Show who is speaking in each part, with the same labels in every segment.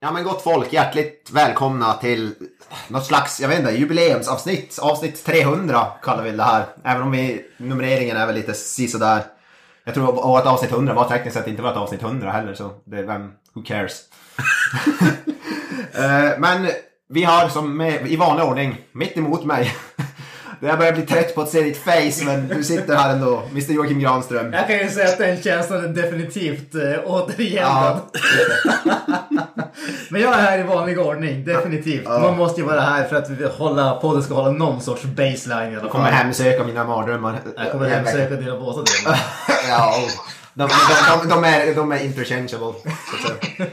Speaker 1: Ja men gott folk, hjärtligt välkomna till något slags, jag vet inte, jubileumsavsnitt. Avsnitt 300 kallar vi det här. Även om vi, numreringen är väl lite sisådär. Jag tror och att avsnitt 100 var tekniskt sett inte var ett avsnitt 100 heller så det, vem, who cares. Eh, men vi har som med, i vanlig ordning, mitt emot mig. Jag börjar bli trött på att se ditt face men du sitter här ändå, Mr Joakim Granström.
Speaker 2: Jag kan ju säga att den känslan är definitivt äh, återgäldad. Men jag är här i vanlig ordning, definitivt. Man måste ju vara här för att vi vill hålla, podden ska hålla någon sorts baseline i alla
Speaker 1: Jag kommer
Speaker 2: fall.
Speaker 1: hemsöka mina mardrömmar.
Speaker 2: Jag kommer hemsöka dina båda delar.
Speaker 1: ja, oh. de, de, de, de, är, de är interchangeable. så att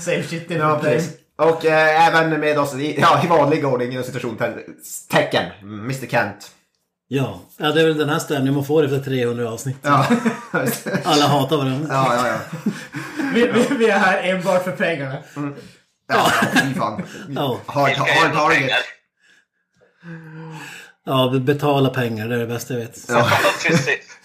Speaker 1: säga.
Speaker 2: Same shit in
Speaker 1: Ja,
Speaker 2: ja,
Speaker 1: precis. Och eh, även med oss i, ja, i vanlig ordning inom situationstecken, Mr Kent.
Speaker 3: Ja, ja, det är väl den här stämningen man får efter 300 avsnitt.
Speaker 1: Ja, ja,
Speaker 3: Alla hatar varandra.
Speaker 1: ja. ja.
Speaker 2: vi, vi, vi är här enbart för pengarna.
Speaker 1: ja, ja fy fan.
Speaker 3: Ja.
Speaker 1: Hard, hard target.
Speaker 3: Ja, betala pengar, det är det bästa jag vet.
Speaker 1: Ja.
Speaker 4: Precis.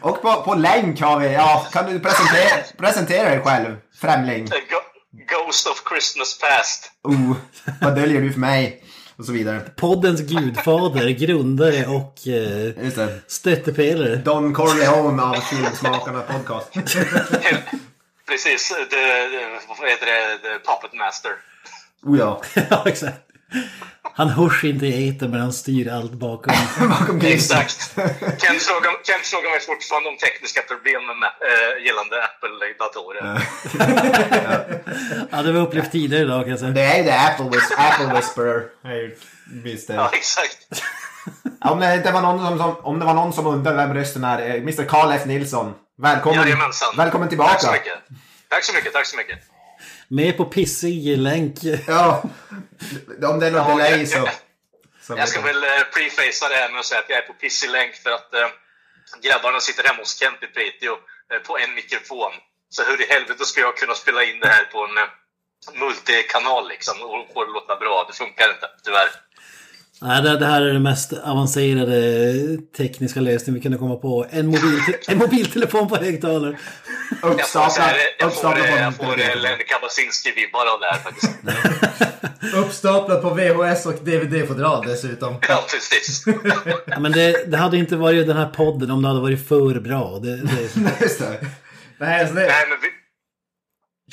Speaker 1: Och på, på länk har vi, ja, kan du presentera, presentera dig själv, främling?
Speaker 4: The Eh, go- Ghost of Christmas Past.
Speaker 1: Oh, vad döljer du för mig? Och så vidare.
Speaker 3: Poddens gudfader, grundare och eh,
Speaker 1: Just det.
Speaker 3: stöttepelare.
Speaker 1: Don Corleone av Filmsmakarna podcast.
Speaker 4: Precis. The, the, vad heter det? The Puppet Master.
Speaker 1: Oh ja.
Speaker 3: ja, exakt. Han hörs inte i etern men han styr allt bakom.
Speaker 1: Bakom kulissen.
Speaker 4: Exakt. Kent frågar, Kent frågar mig fortfarande om tekniska problem med, eh, gällande Apple-datorer.
Speaker 3: ja, det var upplevt tidigare idag kan jag säga.
Speaker 1: Det är ju det, Apple, whis- Apple Whisperer. Det är ju- Visst är det.
Speaker 4: Ja, exakt.
Speaker 1: Om det, inte var någon som, som, om det var någon som undrade vem rösten är, eh, Mr Carl F Nilsson. Välkommen,
Speaker 4: Jajamensan.
Speaker 1: välkommen tillbaka.
Speaker 4: Tack så mycket. Tack så mycket. Tack så mycket.
Speaker 3: Med på pissig länk.
Speaker 1: Ja, om det är något
Speaker 4: Ja,
Speaker 1: delay
Speaker 4: jag-
Speaker 1: så.
Speaker 4: jag-
Speaker 1: så
Speaker 4: Jag ska väl eh, prefacea det här med att säga att jag är på pissig länk för att eh, grabbarna sitter hemma hos Kent i Piteå eh, på en mikrofon. Så hur i helvete ska jag kunna spela in det här på en eh, multikanal liksom och få det låta bra? Det funkar inte, tyvärr.
Speaker 3: Nej, det, det här är den mest avancerade tekniska lösning vi kunde komma på. En, mobil, en mobiltelefon på högtalare.
Speaker 4: Jag får, så
Speaker 1: Uppstapla,
Speaker 4: här, jag får,
Speaker 1: uppstapla
Speaker 4: eh,
Speaker 1: på
Speaker 4: jag får eh,
Speaker 1: mobiltelefonen.
Speaker 4: Lenny Kabasinski-vibbar av det här faktiskt.
Speaker 2: Uppstaplat på VHS och DVD-fodral dessutom.
Speaker 4: Ja, precis.
Speaker 3: Ja, men det, det hade inte varit den här podden om det hade varit för bra. Det, det,
Speaker 1: Just det.
Speaker 2: Nej, så det,
Speaker 4: Nej, men vi...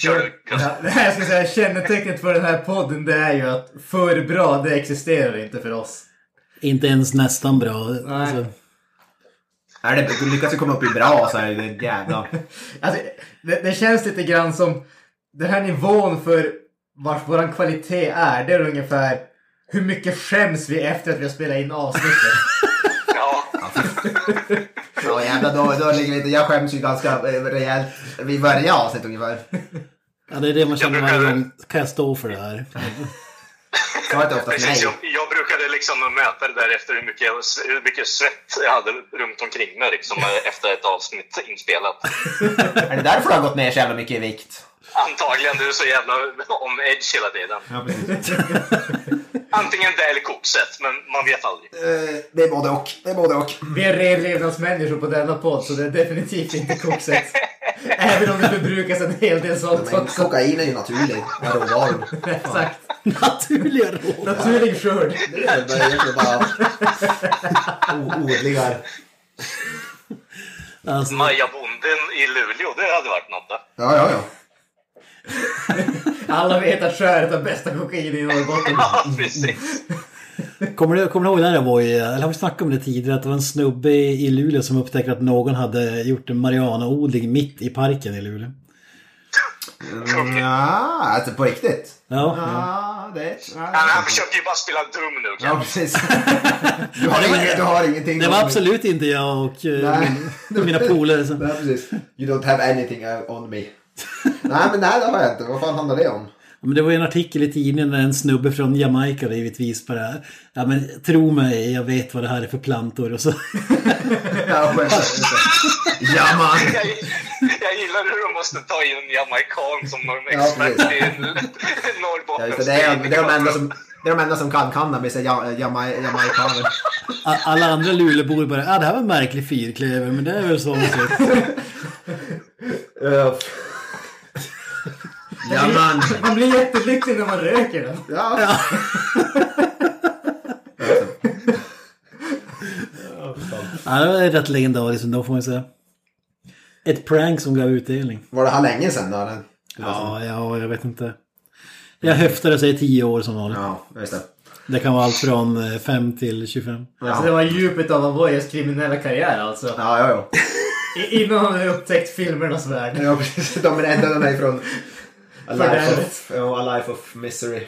Speaker 4: Kör du.
Speaker 2: Ja, det här ska jag säga, kännetecknet för den här podden det är ju att för bra, det existerar inte för oss.
Speaker 3: Inte ens nästan bra. Alltså,
Speaker 1: Är det, du lyckas ju komma upp i bra så är det jävla...
Speaker 2: Alltså, det, det känns lite grann som den här nivån för vart våran kvalitet är. Det är ungefär hur mycket skäms vi efter att vi har spelat in avsnittet.
Speaker 4: Ja,
Speaker 1: Ja jävlar, då, då ligger lite, jag skäms ju ganska eh, rejält vid varje avsnitt ungefär.
Speaker 3: ja, det är det man känner
Speaker 4: brukar-
Speaker 3: varje gång. Kan jag stå för det här?
Speaker 1: Svaret är oftast
Speaker 4: precis.
Speaker 1: nej.
Speaker 4: Jag, jag brukade liksom mäta det där efter hur mycket, jag- hur mycket svett jag hade runt omkring mig liksom, eh, efter ett avsnitt inspelat.
Speaker 1: Är det därför du har gått ner så jävla mycket i vikt?
Speaker 4: Antagligen, du är så jävla om edge hela tiden.
Speaker 1: Ja, precis.
Speaker 4: Antingen det eller kokset, men man vet aldrig.
Speaker 1: Eh, Det är både och. Det är både och.
Speaker 2: Vi är renlevnadsmänniskor på denna podd så det är definitivt inte kokset. Även om det förbrukas en hel del sånt
Speaker 1: Men
Speaker 2: också.
Speaker 1: kokain är ju naturlig. Vad råvaror.
Speaker 2: Exakt.
Speaker 3: Naturliga råd.
Speaker 2: Naturlig skörd.
Speaker 1: Det är väl egentligen bara o- odlingar.
Speaker 3: Alltså,
Speaker 4: Maja Bonden i Luleå, det hade varit något. Då.
Speaker 1: Ja, ja, ja.
Speaker 2: Alla vet att skäret har bästa kokain i Norrbotten.
Speaker 4: Ja, precis.
Speaker 3: kommer, du, kommer du ihåg när det var? i- Eller har vi snackat om det tidigare? Att det var en snubbe i Luleå som upptäckte att någon hade gjort en marijuanaodling mitt i parken i Luleå.
Speaker 1: Mm, ja, alltså på riktigt.
Speaker 3: Ja, ja.
Speaker 1: Ja, det
Speaker 4: Han,
Speaker 1: ja.
Speaker 4: han försöker ju bara spela dum nu.
Speaker 1: ja,
Speaker 4: Kan?
Speaker 1: precis. Du har, inget, du har ingenting.
Speaker 3: Det var absolut inte jag och eh,
Speaker 1: Nej.
Speaker 3: min, mina polare. som-
Speaker 1: Ja, precis. You don't have anything uh, on me. Nej, men nej det har jag inte. Vad fan handlar det om?
Speaker 3: Ja, Men det var ju en artikel i tidningen där en snubbe från Jamaica då, givetvis bara ja, men tro mig, jag vet vad det här är för plantor och så.
Speaker 1: Ja, men- ja man!
Speaker 4: Jag, jag gillar hur de måste ta in en jamaican som någon
Speaker 1: Ja,
Speaker 4: expert
Speaker 1: precis.
Speaker 4: i
Speaker 1: Ja,
Speaker 4: Norrbotten.
Speaker 1: just det, det, är, det, är de enda som, det är de enda som kan cannabis, är ja, jamai, jamaikaner.
Speaker 3: A- Alla andra lulebor bara, ja det här var en märklig fyrklöver, men det är väl så. så."
Speaker 1: Öff. ja man!
Speaker 2: Man blir jättelycklig när man röker den.
Speaker 1: Ja.
Speaker 3: Ja, det var rätt legendariskt ändå får man säga. Ett prank som gav utdelning.
Speaker 1: Var det här länge sedan då? eller?
Speaker 3: Ja, ja, jag vet inte. Jag höftar och säger 10 år som vanligt.
Speaker 1: Ja, just det.
Speaker 3: Det kan vara allt från 5 till 25.
Speaker 2: Alltså det var djupet av Avoyes kriminella karriär alltså.
Speaker 1: Ja, ja, ja.
Speaker 2: I, innan han hade upptäckt filmernas värld.
Speaker 1: ja precis. de räddade mig från... A life,
Speaker 2: Fördärvet.
Speaker 1: of, ja, a life of misery.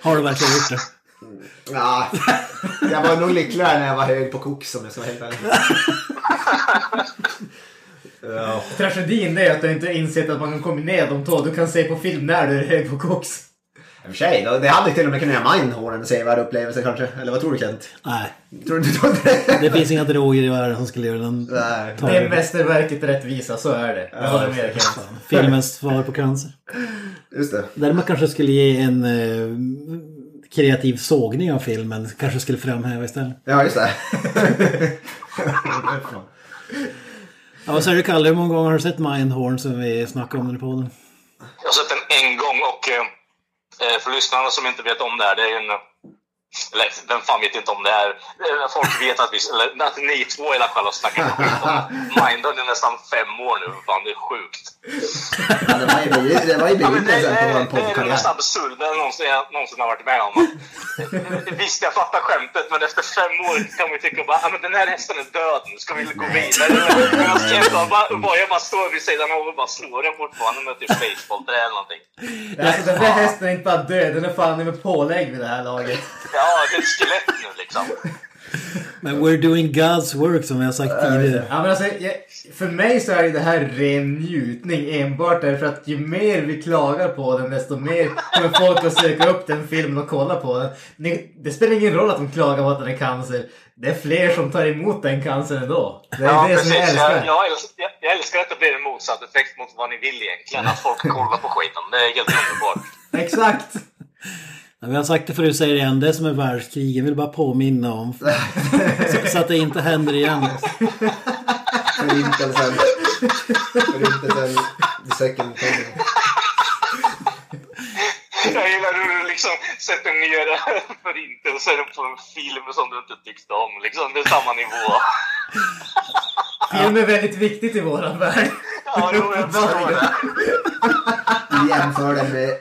Speaker 3: Har du verkligen gjort det?
Speaker 1: Ja, jag var nog lyckligare när jag var hög på koks om jag ska vara helt ärlig. Ja.
Speaker 2: Tragedin det är att du inte har insett att man kan kombinera de två. Du kan se på film när du är hög på koks.
Speaker 1: I och för sig, då- det hade till och med kunnat göra Mindhorn en sevärd upplevelse kanske. Eller vad tror du Kent?
Speaker 3: Nej,
Speaker 1: Tror du inte det?
Speaker 3: det finns inga droger i världen som skulle göra den.
Speaker 1: Nej.
Speaker 3: Ta
Speaker 2: Det är
Speaker 3: det.
Speaker 2: mästerverket rättvisa, så är det. Jag håller med dig Kent.
Speaker 3: Filmens svar på cancer.
Speaker 1: Just det.
Speaker 3: Däremot kanske jag skulle ge en eh, kreativ sågning av filmen. Kanske jag skulle framhäva istället.
Speaker 1: Ja, just det.
Speaker 3: Ja, vad säger du Kalle? Hur många gånger har du sett Mindhorn som vi snackade om den i podden?
Speaker 4: Jag har sett den en gång och eh, för lyssnarna som inte vet om det här, det är ju en... Eller vem fan vet inte om det här? Eh, Folk vet att vi... Eller att ni två i alla fall har snackat skit om Mindon i nästan fem år nu. Fan, det är sjukt.
Speaker 1: Ja, det var ju- det var ju
Speaker 4: Ja, men det,
Speaker 1: begynnelsen på vår
Speaker 4: det, det är det
Speaker 1: poddkarriär.
Speaker 4: mest absurda jag någonsin, jag någonsin har varit med om. Eh, Visst, jag fattar skämtet, men efter fem år kan vi tycka bara, "Ah, men den här hästen är död, nu ska vi gå vidare. Medan jag bara, bara, bara, jag bara står vid sidan av och bara slår den fortfarande med typ basebollträ eller någonting.
Speaker 2: Alltså den där hästen är inte bara död, den är fan med pålägg vid det här laget.
Speaker 4: Ja, det är ett skelett nu liksom.
Speaker 3: Men we're doing God's work som vi har sagt tidigare.
Speaker 2: Ja, men alltså, jag, för mig så är ju det här ren njutning enbart därför att ju mer vi klagar på den desto mer kommer folk att söka upp den filmen och kolla på den. Ni- Det spelar ingen roll att de klagar på att den är cancer. Det är fler som tar emot den cancern ändå. Det är
Speaker 4: Ja,
Speaker 2: det som jag
Speaker 4: precis.
Speaker 2: älskar.
Speaker 4: Jag, jag, älskar, jag, jag älskar att det blir en motsatt effekt mot vad ni vill egentligen. Att folk kollar på skiten. Det är helt underbart.
Speaker 2: Exakt!
Speaker 3: Ja, vi har sagt det förut, säger det igen. Det som är världskrig. Jag vill bara påminna om. Så, så att det inte händer igen.
Speaker 1: Förintelsen. Förintelsen. The second coming.
Speaker 4: Jag gillar hur du liksom sätter ner förintelsen på en film som du inte tyckte om. Liksom, det är samma nivå.
Speaker 2: Film är väldigt viktigt i våran värld.
Speaker 4: Ja, jo, jag förstår det.
Speaker 1: Vi jämför den med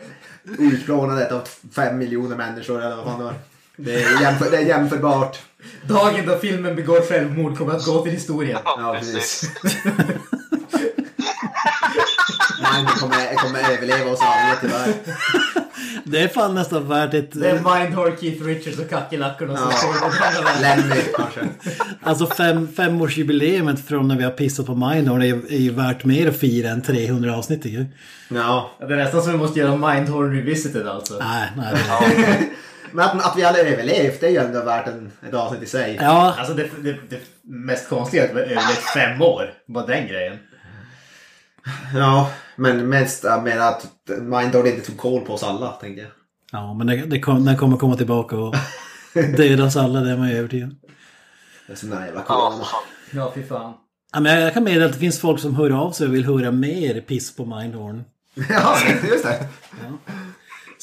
Speaker 1: utplånandet av fem miljoner människor eller vad fan det var. Det är, jämför, det är jämförbart.
Speaker 2: Dagen då filmen begår självmord kommer att gå till historien.
Speaker 4: Ja,
Speaker 1: Ja,
Speaker 4: precis.
Speaker 1: precis. Men det kommer, det kommer överleva oss alla tyvärr.
Speaker 3: Det är fan nästan värt ett...
Speaker 2: Det är Mindhorn, Keith Richards och kackerlackorna som
Speaker 1: Ja.
Speaker 2: står på den här världen.
Speaker 1: Lemmy kanske.
Speaker 3: Alltså fem, femårsjubileet från när vi har pissat på Mindhorn är, är ju värt mer att fira än 300 avsnitt tycker jag.
Speaker 1: Ja.
Speaker 2: Ja, Det är nästan som vi måste göra Mindhorn Revisited alltså.
Speaker 3: Nej, nej. nej.
Speaker 1: Men att, att vi alla överlevt det är ju ändå värt en, ett avsnitt i sig.
Speaker 3: Ja,
Speaker 2: Alltså det, det, det mest konstiga är att vi har överlevt fem år. Bara den grejen.
Speaker 1: Ja, men mest jag menar att Mindord inte tog koll på oss alla tänkte jag.
Speaker 3: ja men det, det kom, den kommer komma tillbaka och döda oss alla, det är man ju övertygad
Speaker 1: Det är som den här jävla corona.
Speaker 4: Ja, fan.
Speaker 2: Ja, fy fan.
Speaker 3: ja, men jag, jag kan meddela att det finns folk som hör av sig och vill höra mer piss på Mindhorn.
Speaker 1: Ja, just det.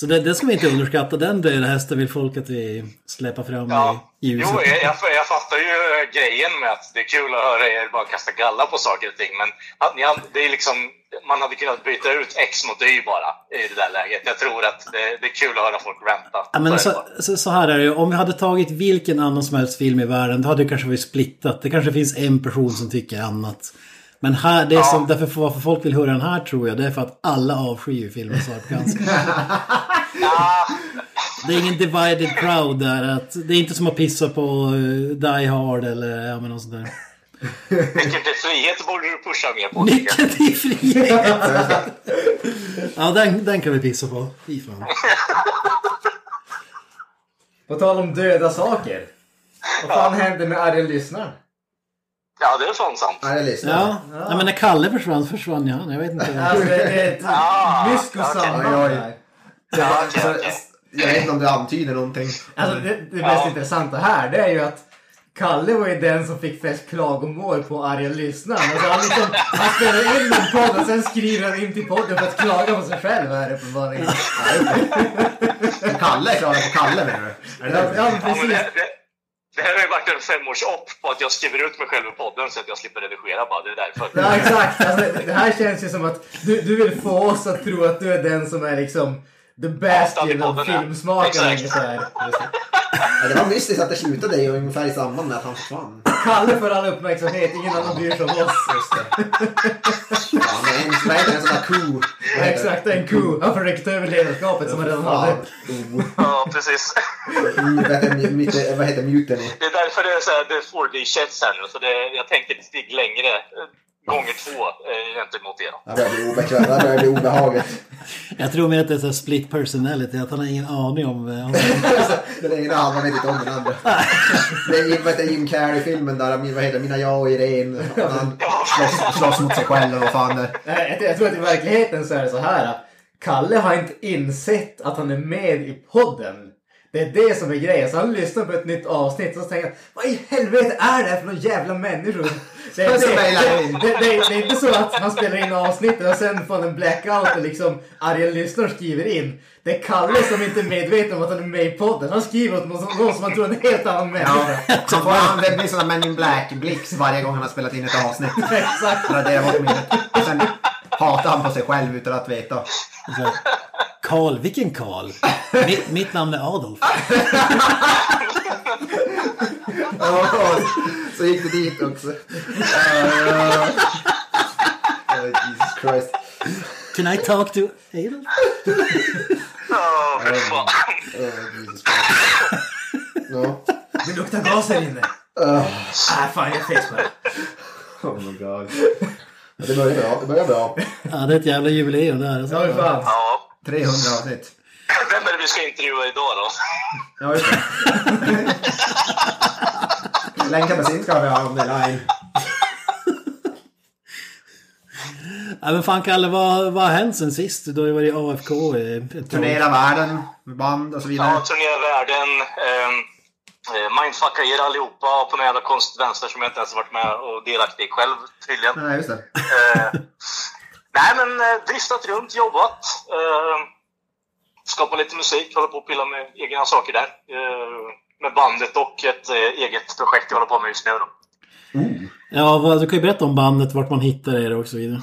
Speaker 3: Så det, det ska vi inte underskatta, den döda hästen vill folk att vi släpar fram
Speaker 4: Ja.
Speaker 3: i ljuset.
Speaker 4: Jo, jag, jag, jag fattar ju eh, grejen med att det är kul att höra er bara kasta galla på saker och ting. Men att ni, hade- det är liksom, man hade kunnat byta ut X mot Y bara i det där läget. Jag tror att det, det är kul att höra folk ranta.
Speaker 3: Ja, men alltså- så, så, så här är det ju. Om vi hade tagit vilken annan som helst film i världen, då hade det kanske varit splittat. Det kanske finns en person som tycker annat. Men här, det är som, därför för- varför folk vill höra den här tror jag, det är för att alla avskyr ju filmen Svar på cancer. Det är ingen divided crowd där. Att, det är inte som att pissa på eh, Die Hard eller ja, men något sånt där.
Speaker 4: Nyckeln till frihet borde du pusha mer på. tycker
Speaker 3: Nyckeln
Speaker 4: jag.
Speaker 3: till frihet! ja, den, den kan vi pissa på. Fy fan.
Speaker 2: På tal om döda saker. Vad fan hände med arga lyssnaren?
Speaker 4: Ja, det är fan sant.
Speaker 1: Nej, jag lyssnar.
Speaker 3: Ja. Nej, men när Kalle försvann försvann jag. Jag vet inte.
Speaker 2: Alltså det är ett
Speaker 4: Ah,
Speaker 2: mysko samband
Speaker 1: okej.
Speaker 2: där.
Speaker 1: Ja,
Speaker 4: okej,
Speaker 1: så-
Speaker 4: okej.
Speaker 1: Jag vet inte om det antyder någonting.
Speaker 2: Alltså det, det mest
Speaker 4: Ja.
Speaker 2: intressanta här det är ju att Kalle var ju den som fick flest klagomål på arga lyssnaren. Alltså han, liksom, han spelar in en podd och sen skriver han in till podden för att klaga på sig själv här uppenbarligen.
Speaker 1: Kalle klarar på Kalle menar du? Är det
Speaker 2: Ja,
Speaker 1: därför?
Speaker 2: ja,
Speaker 4: Ja, men
Speaker 2: precis.
Speaker 4: det, det, det här har ju varit en femårsopp på att jag skriver ut mig själv i podden så att jag slipper redigera bara. Det är därför.
Speaker 2: Ja exakt. Alltså, det- det här känns ju som att du, du vill få oss att tro att du är den som är liksom the bastion av
Speaker 4: podden, ja.
Speaker 2: filmsmakarna.
Speaker 4: Exakt.
Speaker 2: så här.
Speaker 1: Ja, det var mystiskt att det slutade i ungefär i samband med att han försvann.
Speaker 2: Kalle får all uppmärksamhet, ingen annan bryr sig om oss.
Speaker 1: Ja, men en, vad heter det? En sån där ko.
Speaker 2: Ja, Exakt, det är en ko. Han får räcka över ledarskapet som han redan hade.
Speaker 4: Ja, precis.
Speaker 1: Vad heter muteny?
Speaker 4: Det är därför det är så här, det är 4D-chats här nu. Så det, jag tänker ett steg längre. eh, Gånger två eh, gentemot er.
Speaker 1: Jag börjar bli obekväm, jag börjar bli obehagligt.
Speaker 3: Jag tror mer att det är så här split personality, att han har ingen aning om... eh, om-
Speaker 1: Den ena halvan vet inte om den andra. Det är vad heter Jim Carrey-filmen där, min- vad heter det, Mina jag och Irene. Han slåss, slåss mot sig själv och vad fan det är.
Speaker 2: Nej, Jag, jag tror att i verkligheten så är det så här. att Kalle har inte insett att han är med i podden. Det är det som är grejen. Så han lyssnar på ett nytt avsnitt och så tänker han, vad i helvete är det här för några jävla människor? Det är,
Speaker 1: Och så
Speaker 2: det,
Speaker 1: mejlar han in.
Speaker 2: det, det, det, är inte så att han spelar in avsnittet och sen får han en blackout och liksom arga lyssnaren skriver in. Det är Kalle som inte är medveten om att han är med i podden. Han skriver åt någon som, någon som han tror är en helt annan människa.
Speaker 1: Han får använda en sån där Men in Black-blixt varje gång han har spelat in ett avsnitt.
Speaker 2: Exakt.
Speaker 1: Radera bort minnet. Och sen hatar han på sig själv utan att veta.
Speaker 3: så här, Karl, vilken Karl? Mitt, mitt namn är Adolf.
Speaker 1: Ja, så gick det dit också. Eh, oh, Jesus Christ.
Speaker 3: Can I talk to Adolf?
Speaker 4: Åh, fy fan.
Speaker 1: Oh, Jesus Christ. Ja.
Speaker 2: Det luktar gas här inne.
Speaker 1: Eh,
Speaker 2: Ah, fan jag fes på det.
Speaker 1: oh my god. Ja, Det börjar bra. Det börjar bra.
Speaker 3: Ja, det är ett jävla jubileum det här.
Speaker 2: Ja,
Speaker 3: Alltså.
Speaker 2: hur fan.
Speaker 4: Ja.
Speaker 1: 300 avsnitt.
Speaker 4: Vem är det vi ska intervjua idag då?
Speaker 1: Ja, just det. Länka bensin ska vi ha om det är live.
Speaker 3: Ja, men fan Kalle, vad, vad har hänt sen sist? Du har ju varit AFK i ett tag.
Speaker 1: Turnera världen med band och så vidare.
Speaker 4: Ja, turnera världen. ehm, Eh, mindfucka er allihopa och på några jävla konsekvenser som jag inte ens varit med och delaktig i själv tydligen.
Speaker 1: Nej, just det.
Speaker 4: Eh, nej, men eh, driftat runt, jobbat. Eh, skapat lite musik, håller på att pilla med egna saker där. Eh, med bandet och ett eh, eget projekt jag håller på med just nu. Då.
Speaker 3: Ja, vad, du kan ju berätta om bandet, vart man hittar er och så vidare.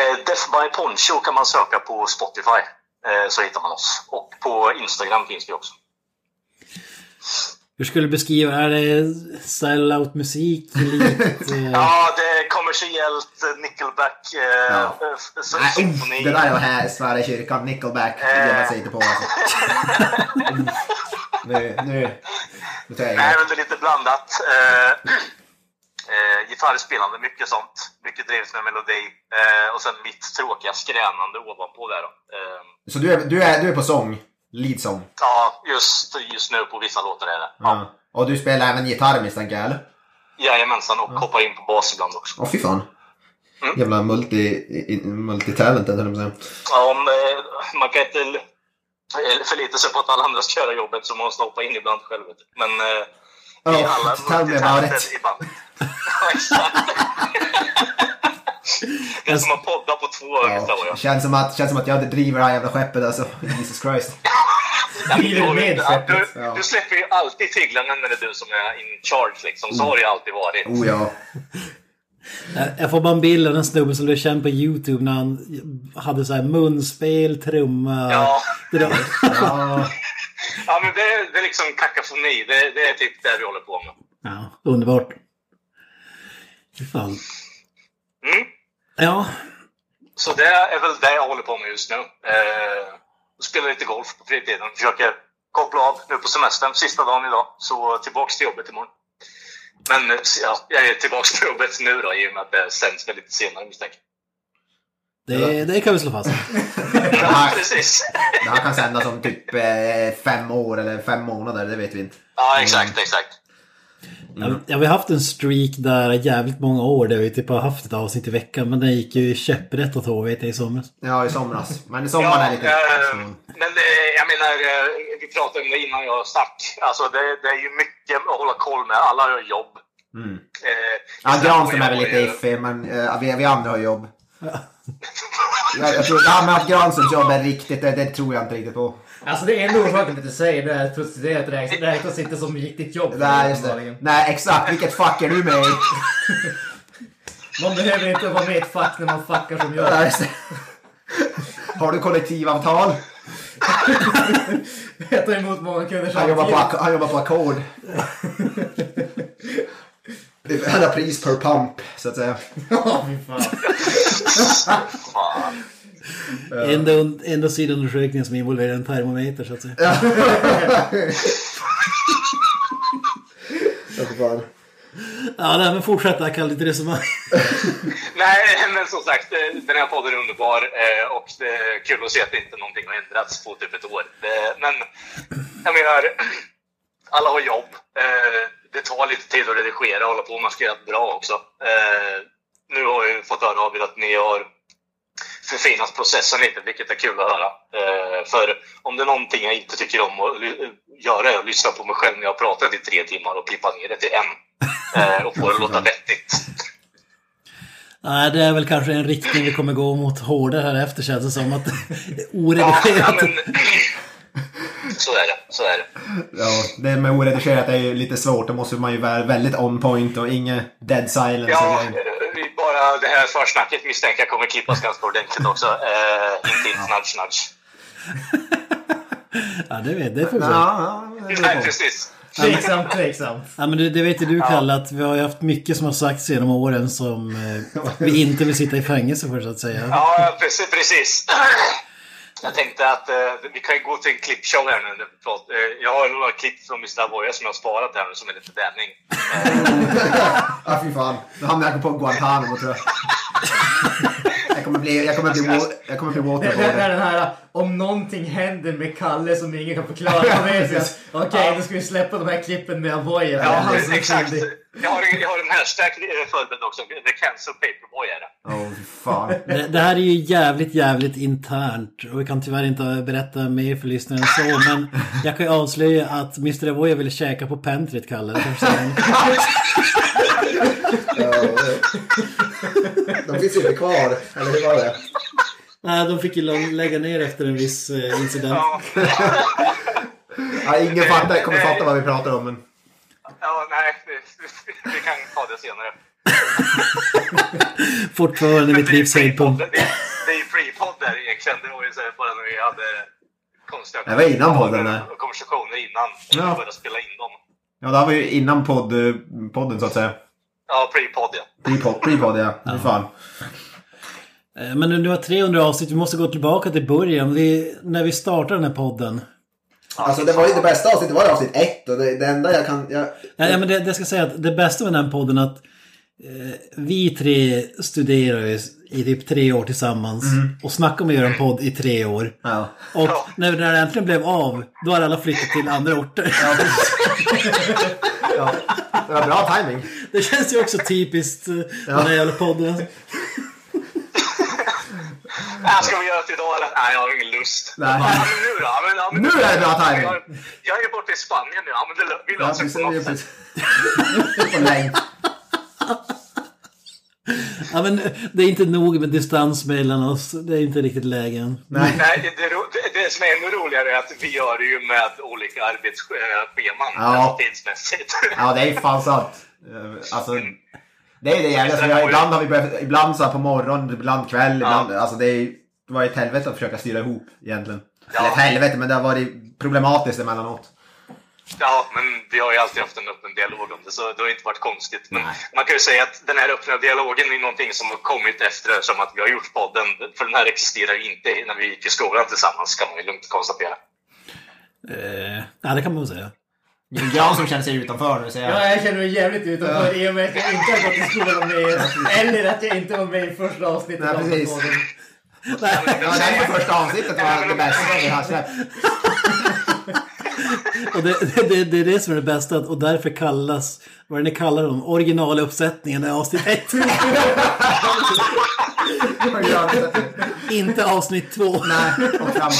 Speaker 4: Eh, Death by Poncho kan man söka på Spotify. Eh, så hittar man oss. Och på Instagram finns vi också.
Speaker 3: Hur skulle du beskriva, är det sellout musik? Likt, eh,
Speaker 4: Ja, det är kommersiellt eh, Nickelback eh,
Speaker 1: Ja.
Speaker 4: eh, f- f-
Speaker 1: Nej,
Speaker 4: symfoni.
Speaker 1: uff, det där var här Sverige kyrkan, Nickelback, det ger man sig inte på alltså. Uff, nu, nu, nu tar jag
Speaker 4: Nej,
Speaker 1: igen.
Speaker 4: men det är lite blandat. Eh, eh, gitarrspelande, mycket sånt. Mycket drevs med melodi. Eh, och sen mitt tråkiga skränande ovanpå där då. Eh,
Speaker 1: Så du är, du, är, du är på sång, lead sång.
Speaker 4: ja, just, just nu på vissa låtar är det. Ja.
Speaker 1: Ja. Och du spelar även gitarr misstänker jag eller?
Speaker 4: Jajamensan, och hoppar in på bas ibland också.
Speaker 1: Åh fy fan.
Speaker 4: Mm.
Speaker 1: Jävla multi, i- multitalented höll jag på att säga.
Speaker 4: Ja, om, eh, man kan inte l- eller förlita sig på att alla andra ska göra jobbet så man måste hoppa in ibland själv. vet du. Men eh, vi är alla
Speaker 1: Oh, tell me about
Speaker 4: multitalented
Speaker 1: it.
Speaker 4: i bandet. Ja, exakt. Det är som att podda på två ungefär.
Speaker 1: Ja,
Speaker 4: Ja.
Speaker 1: känns, som att, känns som att jag driver det här jävla skeppet alltså. Jesus Christ.
Speaker 4: Ja, men
Speaker 2: Driver
Speaker 4: då-
Speaker 2: med
Speaker 4: ja, du,
Speaker 2: skeppet,
Speaker 1: ja.
Speaker 4: du släpper ju alltid tyglarna när det är du som är in charge liksom. Så har det ju alltid varit.
Speaker 1: Oh ja.
Speaker 3: Jag- eh, Jag får bara en bild av den snubben som blev känd på YouTube när han hade så här munspel, trumma.
Speaker 4: Ja.
Speaker 3: Det där.
Speaker 1: ja.
Speaker 4: Ja, men det, är- det är liksom kakafoni. Det, det är typ det vi håller på med.
Speaker 3: ja underbart. Fy Fan.
Speaker 4: Mm.
Speaker 3: Ja,
Speaker 4: Så det är väl det jag håller på med just nu. Eh, spelar lite golf på fritiden. Försöker koppla av nu på semestern. Sista dagen idag. Så tillbaks till jobbet imorgon. Men eh, ja, jag är tillbaka på jobbet nu då i och med att det sänds väldigt senare misstänker
Speaker 3: Det, det kan vi slå fast.
Speaker 1: Det
Speaker 4: jag.
Speaker 1: här,
Speaker 4: Precis.
Speaker 1: det här kan sändas om typ eh, fem år eller fem månader, det vet vi inte.
Speaker 4: Ja,
Speaker 1: Mm.
Speaker 4: exakt, exakt.
Speaker 3: Ja, vi har haft en streak där jävligt många år där vi typ har haft ett avsnitt i veckan. Men det gick ju käpprätt åt HVT i somras.
Speaker 1: Ja, i somras. Men i sommar är lite...
Speaker 4: eh,
Speaker 1: Mm.
Speaker 4: men eh, jag menar, eh, vi pratade om det innan jag stack. Alltså det, det är ju mycket att hålla koll med. Alla har jobb.
Speaker 1: Mm.
Speaker 4: Eh,
Speaker 1: Ja,
Speaker 4: sen
Speaker 1: Granström är
Speaker 4: har
Speaker 1: väl
Speaker 4: jag-
Speaker 1: lite iffig, men eh, vi, vi andra har jobb. Jag, jag tror, ja, men att Granströms jobb är riktigt, det, det tror jag inte riktigt på.
Speaker 2: Alltså det är enda orsaken till att du säger det är att prostituerat räknas, räknas inte som riktigt jobb.
Speaker 1: Nej, just det.
Speaker 2: uppenbarligen.
Speaker 1: Nej, exakt. Vilket fuck är du med i?
Speaker 2: Man behöver inte vara med i ett fack när man fuckar som
Speaker 1: Ja,
Speaker 2: jag.
Speaker 1: just det. Har du kollektivavtal?
Speaker 2: Jag tar emot många kunder
Speaker 1: Han jobbar på, ak- han jobbar på ackord. Han har pris per pump, så att säga.
Speaker 2: Ja, fy fan.
Speaker 4: Fan.
Speaker 3: Enda, un- enda sidundersökningen som involverar en termometer så att säga.
Speaker 1: Ja, för fan.
Speaker 3: Ja, nej, men fortsätt där Kalle, ditt resonemang.
Speaker 4: Nej, men som sagt, eh, den här podden är underbar eh, och det är kul att se att inte någonting har ändrats på typ ett år. Eh, Men jag menar, alla har jobb. Eh, Det tar lite tid att redigera och hålla på. Man ska göra det bra också. Eh, Nu har jag ju fått höra av er att ni har förfinat processen lite, vilket är kul att höra. Eh, För om det är någonting jag inte tycker om att ly- göra är att lyssna på mig själv när jag har pratat i tre timmar och klippa ner det till en eh, och få det att låta vettigt.
Speaker 3: Nej, det är väl kanske en riktning vi kommer gå mot hårdare här efter känns det som. Att
Speaker 4: Ja, ja,
Speaker 3: oredigerat.
Speaker 4: men... Så är det. Så är det.
Speaker 1: Ja, det med oredigerat är ju lite svårt. Då måste man ju vara väldigt on point och inget dead silence.
Speaker 4: Ja,
Speaker 1: och grejer.
Speaker 4: vi bara Alltså, det här försnacket misstänker jag kommer klippas ganska ordentligt också. Eh, inte inte nudge nudge.
Speaker 3: Ja, det vet det får vi se.
Speaker 1: Ja, ja, det
Speaker 4: Nej,
Speaker 1: beror på.
Speaker 4: precis.
Speaker 2: Tveksamt, tveksamt.
Speaker 3: Ja, men det, det vet ju du Kalle, att vi har ju haft mycket som har sagts genom åren som eh, vi inte vill sitta i fängelse för så att säga.
Speaker 4: Ja, ja, precis. precis. Jag tänkte att eh, vi kan ju gå till en klippshow här nu. när vi pratar. Eh, Jag har några klipp från Mr. Avoya som jag har sparat här nu som är lite damning.
Speaker 1: Ja, fy fan. Då hamnar jag på Guantanamo tror jag. Jag kommer bli, jag kommer bli, wa- jag kommer bli
Speaker 2: Det det är
Speaker 1: waterboarded.
Speaker 2: den här, om någonting händer med Kalle som ingen kan förklara. Då vet jag att, Okej, då ska vi släppa de här klippen med liksom, Avoya.
Speaker 4: Ja,
Speaker 2: Han som är
Speaker 4: exakt.
Speaker 2: skyldig.
Speaker 4: Jag har, en- jag har en hashtag eh, förberedd också. The cancel paperboy är det.
Speaker 1: Åh, fy fan.
Speaker 3: Det, det här är ju jävligt, jävligt internt och vi kan tyvärr inte berätta mer för lyssnaren än så, men jag kan ju avslöja att Mr. Avoya ville käka på pentryt Kalle. Det kanske säger något.
Speaker 1: De finns ju inte kvar, eller hur var det?
Speaker 3: Nej, de fick ju lång- lägga ner efter en viss eh, incident.
Speaker 4: Ja.
Speaker 1: Ja, ingen fattar, kommer fatta vad vi pratar om. Men...
Speaker 4: Ja, nej, vi- vi kan ta det senare.
Speaker 3: Fortfarande mitt
Speaker 4: Det är ju
Speaker 3: livs höjdpunkt.
Speaker 4: pre-podd. Det är- det är ju pre-podd där egentligen. Det var ju så här bara när vi hade konstiga
Speaker 1: Det var innan podden, nej.
Speaker 4: och konversationer innan.
Speaker 1: Ja.
Speaker 4: Vi började spela in dem.
Speaker 1: Ja, det här var ju innan podd, eh, podden så att säga.
Speaker 4: Ja, pre-podd ja.
Speaker 1: Pre-podd, pre-podd ja. Fy fan.
Speaker 3: Eh, Men nu har 300 avsnitt, vi måste gå tillbaka till början. Vi, när vi startade den här podden.
Speaker 1: Alltså det var ju det bästa avsnittet, det var ju avsnitt ett. Och det, det enda jag kan... Jag...
Speaker 3: Nej, men det, det ska jag säga att det bästa med den här podden är att eh, vi tre studerar ju i typ tre år tillsammans och snackar om att göra en podd i tre år.
Speaker 1: Ja.
Speaker 3: Och
Speaker 4: Ja.
Speaker 3: när när det äntligen blev av, då hade alla flyttat till andra orter.
Speaker 1: ja. Det var bra timing.
Speaker 3: Det känns ju också typiskt eh, den här jävla podden.
Speaker 4: Äh, ska vi göra det idag eller? Nej, jag har ingen lust.
Speaker 1: Nej.
Speaker 4: Ja, men nu då? Ja, men, ja, men,
Speaker 1: Nu är det bra timing.
Speaker 4: Jag, jag är ju borta i Spanien nu. Ja, men det, lö- vi
Speaker 1: Ja,
Speaker 4: löser
Speaker 1: precis.
Speaker 4: det på något sätt.
Speaker 1: precis. På länk.
Speaker 3: Ja, men eh, det är inte nog med distans mellan oss. Det är inte riktigt lägen.
Speaker 1: Nej.
Speaker 4: Nej, det, det, ro- det, det som är ännu roligare är att vi gör det ju med olika arbetsscheman.
Speaker 1: Ja.
Speaker 4: Alltså tidsmässigt.
Speaker 1: Ja, det är fan sant. Eh, Alltså, det är det jävla för jag, ibland har vi börjat, ibland så här på morgonen, ibland kväll, ibland, alltså det är det var ett helvete att försöka styra ihop egentligen.
Speaker 4: Ja.
Speaker 1: Eller ett helvete, men det har varit problematiskt emellanåt.
Speaker 4: Ja, men vi har ju alltid haft en öppen dialog om det, så det har inte varit konstigt. Men man kan ju säga att den här öppna dialogen är någonting som har kommit efter det, som att vi har gjort podden, för den här existerar ju inte när vi gick i skolan tillsammans, kan man ju lugnt konstatera.
Speaker 3: Eh, ja, det kan man väl säga.
Speaker 1: Jimmy Grahn som känner sig utanför nu säger jag.
Speaker 2: Ja, jag känner mig jävligt utanför i och med att jag inte har gått i skolan med er. Eller att jag inte var med i första avsnittet
Speaker 1: Nej,
Speaker 2: av
Speaker 1: precis.
Speaker 2: podden.
Speaker 1: Det var därför första avsnittet var det bästa vi har släppt.
Speaker 3: Och det, det, det, det är det som är det bästa att- och därför kallas, vad är det ni kallar dem, originaluppsättningen är avsnitt 1. Inte avsnitt 2.
Speaker 1: Nej, och framåt.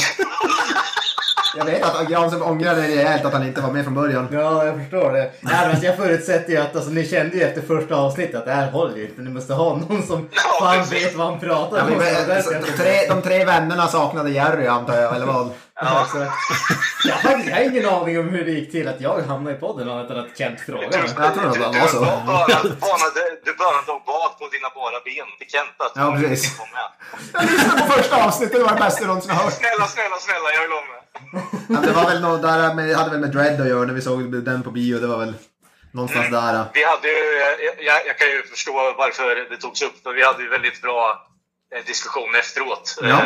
Speaker 1: Jag vet att Granström ångrade rejält att han inte var med från början.
Speaker 2: Ja, jag förstår det. Nej, men alltså, jag förutsätter ju att alltså, ni kände ju efter första avsnittet att det här håller ju inte. Ni måste ha någon som
Speaker 4: Ja,
Speaker 2: fan
Speaker 4: precis.
Speaker 2: vet vad han pratar
Speaker 1: Ja,
Speaker 2: om.
Speaker 1: men, eh,
Speaker 2: Så där
Speaker 1: så,
Speaker 2: ska jag inte-
Speaker 1: de, tre, de tre vännerna saknade Jerry antar jag, eller vad?
Speaker 2: Ja, så- Jag har faktiskt jag har ingen aning om hur det gick till att jag hamnade i podden annat än att Kent frågade. mig.
Speaker 1: Jag tror det var så.
Speaker 4: Du började- banade- Du började av bak på dina bara ben till Kent. Att
Speaker 1: Ja, precis.
Speaker 4: kom med.
Speaker 1: Jag lyssnade på första avsnittet, det var det bästa jag någonsin har hört.
Speaker 4: Snälla, snälla, snälla, jag vill ha med.
Speaker 1: Ja, det var väl något där, med, hade väl med Dread att göra när vi såg den på bio. Det var väl någonstans där. ja.
Speaker 4: Vi hade ju, eh, jag, jag kan ju förstå varför det togs upp, men vi hade ju väldigt bra eh, diskussion efteråt.
Speaker 1: Ja.
Speaker 4: Eh,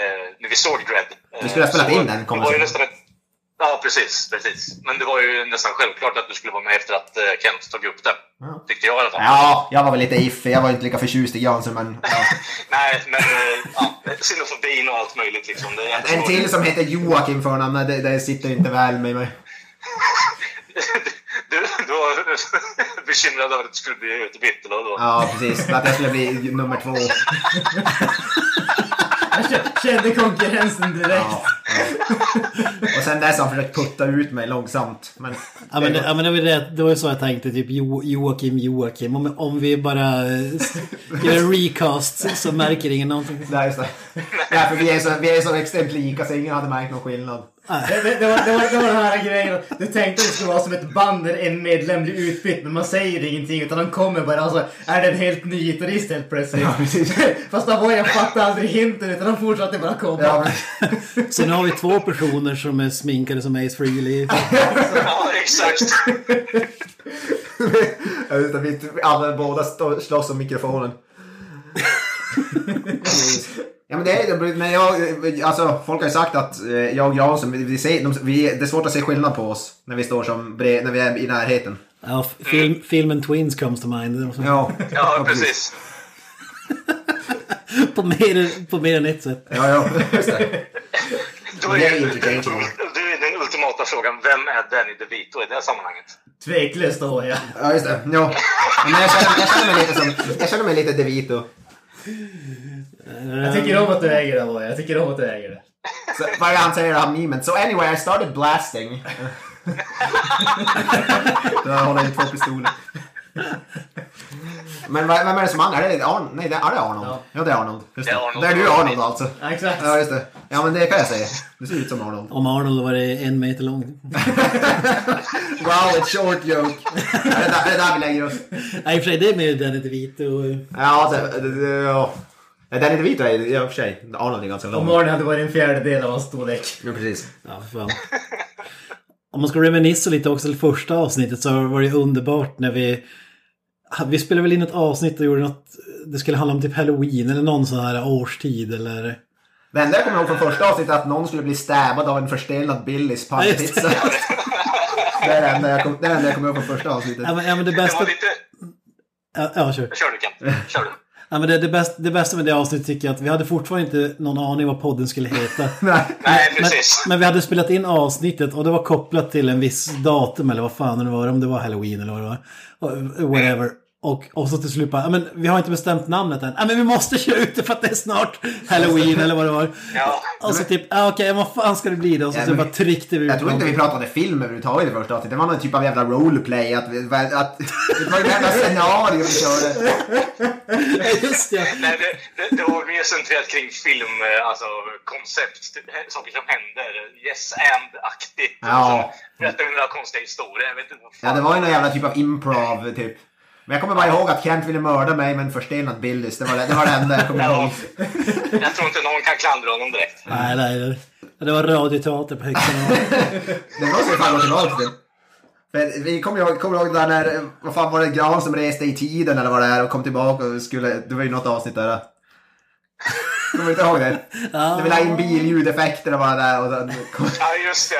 Speaker 4: eh, när vi såg Dread. Eh,
Speaker 1: Vi skulle ha spelat
Speaker 4: så
Speaker 1: in den, kommer
Speaker 4: det var ju
Speaker 1: sen.
Speaker 4: nästan ett, Ja, precis, precis. Men det var ju nästan självklart att du skulle vara med efter att eh, Kent tog upp det.
Speaker 1: Ja.
Speaker 4: Tyckte jag i alla fall.
Speaker 1: Ja, jag var väl lite iffy. Jag var inte lika förtjust i Granström, men... Ja.
Speaker 4: Nej, men eh, ja, xenofobin och allt möjligt liksom. Det är
Speaker 1: En till som heter Joakim förnamn, det, det sitter inte väl med mig.
Speaker 4: Du, du var bekymrad över att du skulle bli utbytt då. då.
Speaker 1: Ja, precis. Att jag skulle bli nummer två.
Speaker 2: Jag k- kände konkurrensen direkt.
Speaker 1: Ja. Och sen dess har han försökt putta ut mig långsamt. Men,
Speaker 3: Ja men, det, ja, men det, var ju det, det var ju så jag tänkte, typ jo, Joakim, Joakim. Om, om vi bara eh, gör en recast så, så märker ingen någonting.
Speaker 1: Nej, just det. Nej, för vi är så, vi är så extremt lika så ingen hade märkt någon skillnad.
Speaker 2: Det, det, det, var, det, var, det var den här grejen. Du tänkte att det skulle vara som ett band där en medlem blir utbytt men man säger ingenting utan de kommer bara alltså, är det en helt ny gitarrist helt plötsligt?
Speaker 1: Ja, precis.
Speaker 2: Fast Avoya fattade aldrig hinten utan de fortsatte bara komma.
Speaker 1: Ja, men,
Speaker 3: Så nu har vi två personer som är sminkade som Ace Frehley.
Speaker 4: Ja, exakt.
Speaker 1: Ja, just det, vi alla båda stå- slåss om mikrofonen. Ja men det är det, men jag, alltså folk har ju sagt att eh, jag och Granström, vi, vi ser, de, vi, det är svårt att se skillnad på oss när vi står som bre, när vi är i närheten.
Speaker 3: Ja, film, filmen Twins comes to mind. Det var så-
Speaker 1: Ja,
Speaker 4: Ja, precis.
Speaker 3: På mer, på mer än ett sätt.
Speaker 1: Ja, ja, just det.
Speaker 4: Då är,
Speaker 1: Nej, inte changeable.
Speaker 4: då är den ultimata frågan, vem är Danny DeVito i det här sammanhanget?
Speaker 2: Tveklöst Avoya.
Speaker 1: Ja, just det. Ja. Men jag känner, jag känner mig lite som, jag känner mig lite De Vito.
Speaker 2: Jag tycker om att du äger det Avoya. Jag tycker om att du äger det.
Speaker 1: Så, varje gång han säger det här memen. So anyway, I started blasting. Där håller jag i två pistoler. Men vad- vem är det som han? Är det Arnold? Nej, det är det Arnold?
Speaker 2: Ja.
Speaker 1: Ja, det är Arnold. Just
Speaker 4: Det
Speaker 1: det.
Speaker 4: är
Speaker 1: Det
Speaker 4: Arnold.
Speaker 1: är du Arnold alltså.
Speaker 2: Ja, exakt.
Speaker 1: Ja, just det. Ja, men det kan jag säga. Du ser ut som Arnold.
Speaker 3: Om Arnold var det en meter lång.
Speaker 1: Wow, it's short joke. Är det där, är det där vi lägger oss?
Speaker 3: Nej, i och för sig, det är med Danny DeVito.
Speaker 1: Ja, alltså, det... det, det ja. Nej, Danny DeVito är i och för sig... Arnold är ganska
Speaker 2: Om
Speaker 1: lång.
Speaker 2: Arne hade varit en fjärdedel av hans storlek.
Speaker 1: Ja, precis.
Speaker 3: Ja, för fan. Om man ska reminissa lite också till första avsnittet så var det ju underbart när vi... Vi spelade väl in ett avsnitt och gjorde något... Det skulle handla om typ halloween eller någon sån här årstid eller...
Speaker 1: Det enda jag kommer ihåg från första avsnittet är att någon skulle bli stabbad av en förstelnad Billys
Speaker 3: Ja, just
Speaker 1: pannpizza.
Speaker 3: det.
Speaker 1: det är det enda jag kom- det är det enda jag kommer ihåg från första avsnittet.
Speaker 3: Ja, men, ja, men det
Speaker 4: Det var
Speaker 3: bästa...
Speaker 4: lite...
Speaker 3: Ja, ja, kör.
Speaker 4: Kör du Kent, kör du.
Speaker 3: Ja, men det, det, bästa, det bästa med det avsnittet tycker jag att vi hade fortfarande inte någon aning vad podden skulle heta.
Speaker 4: Nej,
Speaker 3: Men,
Speaker 4: precis.
Speaker 3: men vi hade spelat in avsnittet och det var kopplat till en viss datum eller vad fan det var, om det var halloween eller vad det var. Och- eh, Whatever. Och, och så till slut bara, "Ja, men vi har inte bestämt namnet än. Ja, men vi måste köra ut det för att det är snart halloween eller vad det var.
Speaker 4: Ja.
Speaker 3: Och så typ, ah, okej, vad fan ska det bli då? Och så,
Speaker 1: Ja,
Speaker 3: så
Speaker 1: men-
Speaker 3: bara tryckte vi ut
Speaker 1: Jag tror inte vi
Speaker 3: någonting.
Speaker 1: pratade film överhuvudtaget i första avsnittet. Det var någon typ av jävla roleplay. Att, vi- att, att, det var ju ett jävla scenario vi körde.
Speaker 3: Ja, Just det.
Speaker 4: Nej, det, det, det var mer centrerat kring film, eh, alltså koncept, typ, hä- saker som händer. Yes and-aktigt.
Speaker 1: Ja.
Speaker 4: Berätta några konstiga historier. Jag vet inte vad fan.
Speaker 1: Ja, det var ju någon jävla typ av improv typ. Men jag kommer bara ihåg att Kent ville mörda mig med en förstelnad Billys. Det var det, det var det enda jag kommer ihåg.
Speaker 4: Ja. Jag tror inte någon kan klandra honom direkt.
Speaker 3: Nej, nej, nej. Det var radioteater på högsta nivå.
Speaker 1: Det var så fan var tillbaka till. Men vi kommer ihåg, kommer ihåg det där när, vad fan var det, Gran som reste i tiden eller vad det är och kom tillbaka och skulle, det var ju något avsnitt där. Kommer du inte ihåg det?
Speaker 3: Ja.
Speaker 1: De ville ha in billjudeffekter och vad det där och sen kom,
Speaker 4: Ja, just det.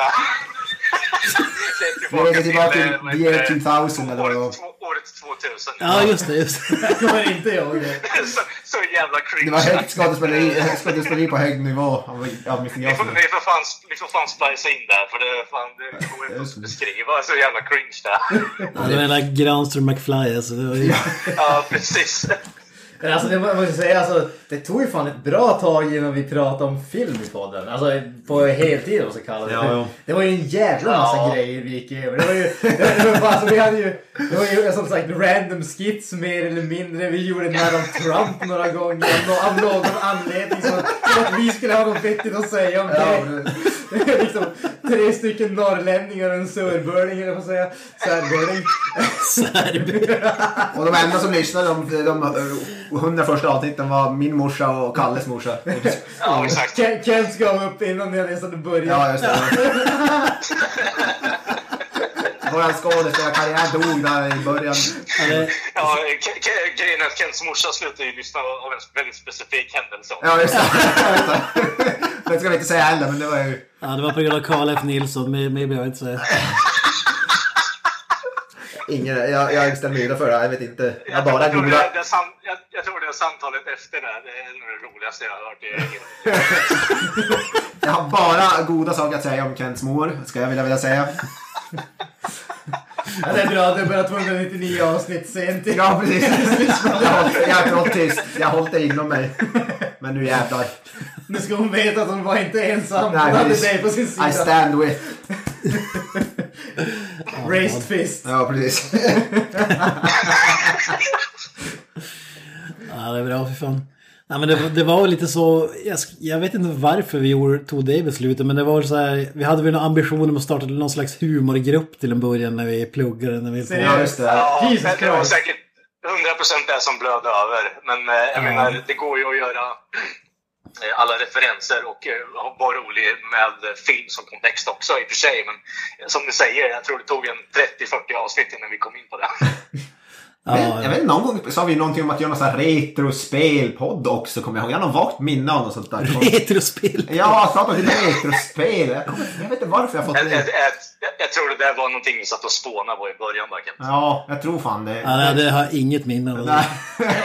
Speaker 4: egentligen
Speaker 1: Nu är vi tillbaka
Speaker 4: tillbaka till...
Speaker 1: till
Speaker 4: eh, vad
Speaker 1: year
Speaker 4: heter det?
Speaker 1: 2000 eller vad det var.
Speaker 4: Året två- Året 2000.
Speaker 3: Ja, just det. Just det.
Speaker 2: Kommer inte jag det.
Speaker 4: så, så jävla
Speaker 1: Det
Speaker 4: cringe.
Speaker 1: var högt skådespeleri, högt skådespeleri på hög nivå av, av Mr
Speaker 4: Vi får,
Speaker 1: Johnson.
Speaker 4: vi, får fan, vi får fan splicea in där för det, fan, det går inte att beskriva. Så jävla cringe där.
Speaker 3: Ja, det var hela Granström McFly alltså. Det var ju...
Speaker 4: Ja, precis.
Speaker 2: Men alltså det må- måste jag säga, alltså, det tog ju fan ett bra tag innan vi pratade om film i podden. Alltså på heltid om man ska kalla det.
Speaker 3: Ja, ja.
Speaker 2: Det var ju en jävla massa
Speaker 4: Ja.
Speaker 2: grejer vi gick över. Det var ju, det var, bara- alltså, vi hade ju, det var ju som sagt random skits mer eller mindre. Vi gjorde Madame Trump några gånger av nå- av någon anledning. Som att, som att vi skulle ha något vettigt att säga om
Speaker 1: Ja,
Speaker 2: det. Det är liksom tre stycken norrlänningar och en sörbörning eller vad säger jag? Särbörning.
Speaker 3: Serb.
Speaker 1: Och de enda som lyssnade, de, de hundra första avsnitten var min morsa och Kalles morsa.
Speaker 4: Ja, exakt.
Speaker 2: Ken- Kent gav upp innan jag ens hade börjat.
Speaker 1: Ja, just det. Våran skådespelarkarriär dog där i början.
Speaker 3: Eller,
Speaker 4: Ja, Ke- Ke- grejen är att Kents morsa slutade ju lyssna av en väldigt specifik händelse.
Speaker 1: Ja, just det. Det ska vi inte säga heller, men det var ju...
Speaker 3: ja, det var på grund av Karl F. Nilsson. Mer, mer behöver jag inte säga.
Speaker 1: Ingen, jag, jag ställer mig utanför det här, jag vet inte. Jag bara
Speaker 4: jag, tror
Speaker 1: googlar.
Speaker 4: det, det, sam, jag, jag tror det samtalet efter det, här, det är nog det roligaste jag har hört. i- i-
Speaker 1: Jag har bara goda saker att säga om Kents mor, ska jag vilja, vilja säga.
Speaker 2: Ja, det är bra, det är bara 299 avsnitt sent.
Speaker 1: Ja, precis. Jag har- jag har hållit tyst. Jag har hållit det inom mig. Men nu jävlar.
Speaker 2: Nu ska hon veta att hon var inte ensam. Hon
Speaker 1: Nej,
Speaker 2: hade
Speaker 1: precis.
Speaker 2: dig på sin
Speaker 1: I
Speaker 2: sida.
Speaker 1: stand with.
Speaker 2: Raised fist.
Speaker 1: Ja, precis.
Speaker 3: Ja, det är bra. Fy fan. Nej, men det, det var väl lite så, jag, sk- jag vet inte varför vi gjorde, tog det beslutet, men det var väl så här, vi hade väl någon ambition om att starta någon slags humorgrupp till en början när vi pluggade. När vi
Speaker 1: Ja, just det.
Speaker 4: Ja,
Speaker 2: Jesus
Speaker 4: men det var
Speaker 2: Christ.
Speaker 4: säkert 100% det som blöd över. Men eh, jag menar, det går ju att göra eh, alla referenser och eh, ha- vara rolig med eh, film som kontext också i och för sig. Men eh, som du säger, jag tror det tog en 30-40 avsnitt innan vi kom in på det.
Speaker 1: Men,
Speaker 3: ja,
Speaker 1: jag vet inte, någon gång sa vi någonting om att göra någon sån här retrospelpodd också, kommer jag ihåg. Jag har någon vagt minne av något sånt där.
Speaker 3: Retrospel.
Speaker 1: Ja, prata om retrospel. Jag, kommer, jag vet inte varför jag har fått
Speaker 4: jag, jag,
Speaker 1: det.
Speaker 4: jag, jag tror det där var någonting vi satt och spånade på i början. Bara, Kent.
Speaker 1: Ja, jag tror fan
Speaker 3: Ja,
Speaker 1: det.
Speaker 3: nej, det har jag inget minne av.
Speaker 1: Nej.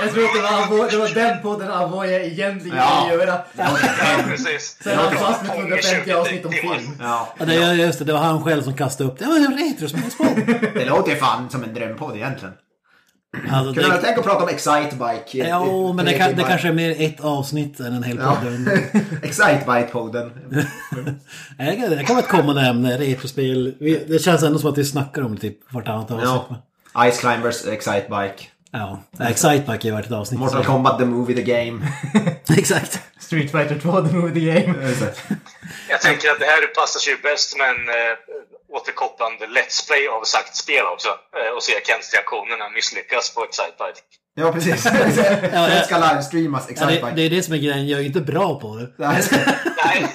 Speaker 2: Jag tror att det var, Avo- det var den podden Avoya egentligen
Speaker 1: Ja.
Speaker 2: ville göra.
Speaker 4: Ja, precis.
Speaker 2: Sen var han fast med
Speaker 4: Fånge
Speaker 2: 250 avsnitt om
Speaker 4: 20 timmar.
Speaker 2: film.
Speaker 1: Ja,
Speaker 3: Ja, det, ja, just det, det var han själv som kastade upp det. Ja, men det var retrospelspodd.
Speaker 1: det låter ju fan som en drömpodd egentligen.
Speaker 3: Alltså,
Speaker 1: Kunde man
Speaker 3: det,
Speaker 1: tänka att prata om Excitebike? i-
Speaker 3: ja,
Speaker 1: i
Speaker 3: men det,
Speaker 1: tre
Speaker 3: kan, det
Speaker 1: timmar?
Speaker 3: kanske är mer ett avsnitt än en hel
Speaker 1: Ja.
Speaker 3: podd.
Speaker 1: Excitebike-podden.
Speaker 3: Nej, Det det kommer ett kommande ämne, retrospel. Vi- Det känns ändå som att vi snackar om det typ vartannat avsnitt.
Speaker 1: Ja. Ice Climbers, Excitebike.
Speaker 3: Ja, ja. Excitebike är ju värt ett avsnitt.
Speaker 1: Mortal Kombat, The Movie, The Game.
Speaker 3: Exakt.
Speaker 2: Street Fighter 2, The Movie, The Game.
Speaker 4: Jag tänker att det här passar sig ju bäst med en eh, återkopplande Let's Play av sagt spel också. Eh, och se Kents reaktion när han misslyckas på Excitebike.
Speaker 1: ja, precis.
Speaker 3: ja.
Speaker 1: Den ska livestreamas,
Speaker 3: Ja, det, det
Speaker 1: Excitebike.
Speaker 3: är det som är grejen, jag är ju inte bra på det.
Speaker 1: Det här ska-
Speaker 4: Nej,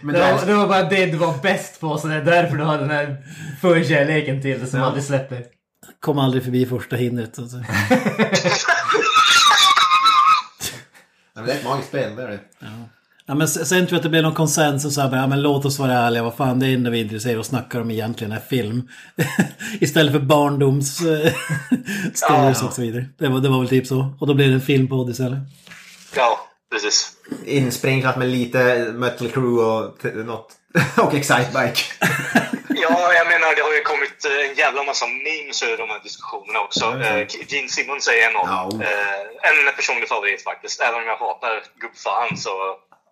Speaker 1: Men
Speaker 2: Det
Speaker 1: det
Speaker 2: var,
Speaker 1: här-
Speaker 2: det var bara det du var bäst på, så det är därför du har den här förkärleken till det som
Speaker 1: Ja.
Speaker 2: aldrig släpper.
Speaker 3: Kom aldrig förbi första hindret. Alltså.
Speaker 1: Ja, men det är ett magiskt spel, det är det.
Speaker 3: Ja, men sen sen tror jag att det blev någon konsensus så här, bara, ja, men låt oss vara ärliga, vad fan det enda vi är intresserade av att snacka om egentligen är film. Istället för barndoms eh, stories och så vidare. Det var, det var väl typ så. Och då blev det en filmpodd istället.
Speaker 4: ja, precis.
Speaker 1: Insprinklat med lite Mötley Crüe och t- något. och Excitebike.
Speaker 4: Ja, jag menar det har ju kommit eh, en jävla massa memes ur de här diskussionerna också.
Speaker 1: Ja,
Speaker 4: Eh, Gene Simmons är en av
Speaker 1: Ja.
Speaker 4: eh, en personlig favorit faktiskt. Även om jag hatar gubbfan så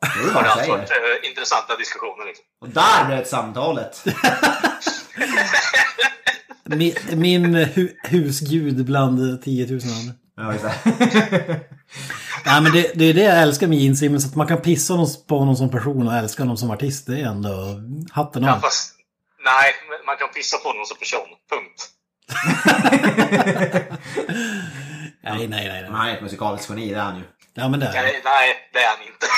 Speaker 1: Det är
Speaker 4: har
Speaker 1: vad
Speaker 4: det
Speaker 1: jag
Speaker 4: alltid
Speaker 1: säger.
Speaker 4: varit eh, intressanta diskussioner. Liksom.
Speaker 1: Och där bröt samtalet.
Speaker 3: Min, min eh, hu, husgud bland 10 000 andra.
Speaker 1: Ja, just det.
Speaker 3: Nej, men det, det är det jag älskar med Gene Simmons, att man kan pissa någon, på någon som person och älska någon som artist. Det är ändå hatten
Speaker 4: Ja,
Speaker 3: av.
Speaker 4: fast, nej, men man kan pissa på någon som person. Punkt.
Speaker 3: Nej, nej, nej.
Speaker 1: Men
Speaker 3: nej.
Speaker 1: han är ett musikaliskt geni, det är han ju.
Speaker 3: Ja, men det är det.
Speaker 4: Nej, Eh, nej det är han inte.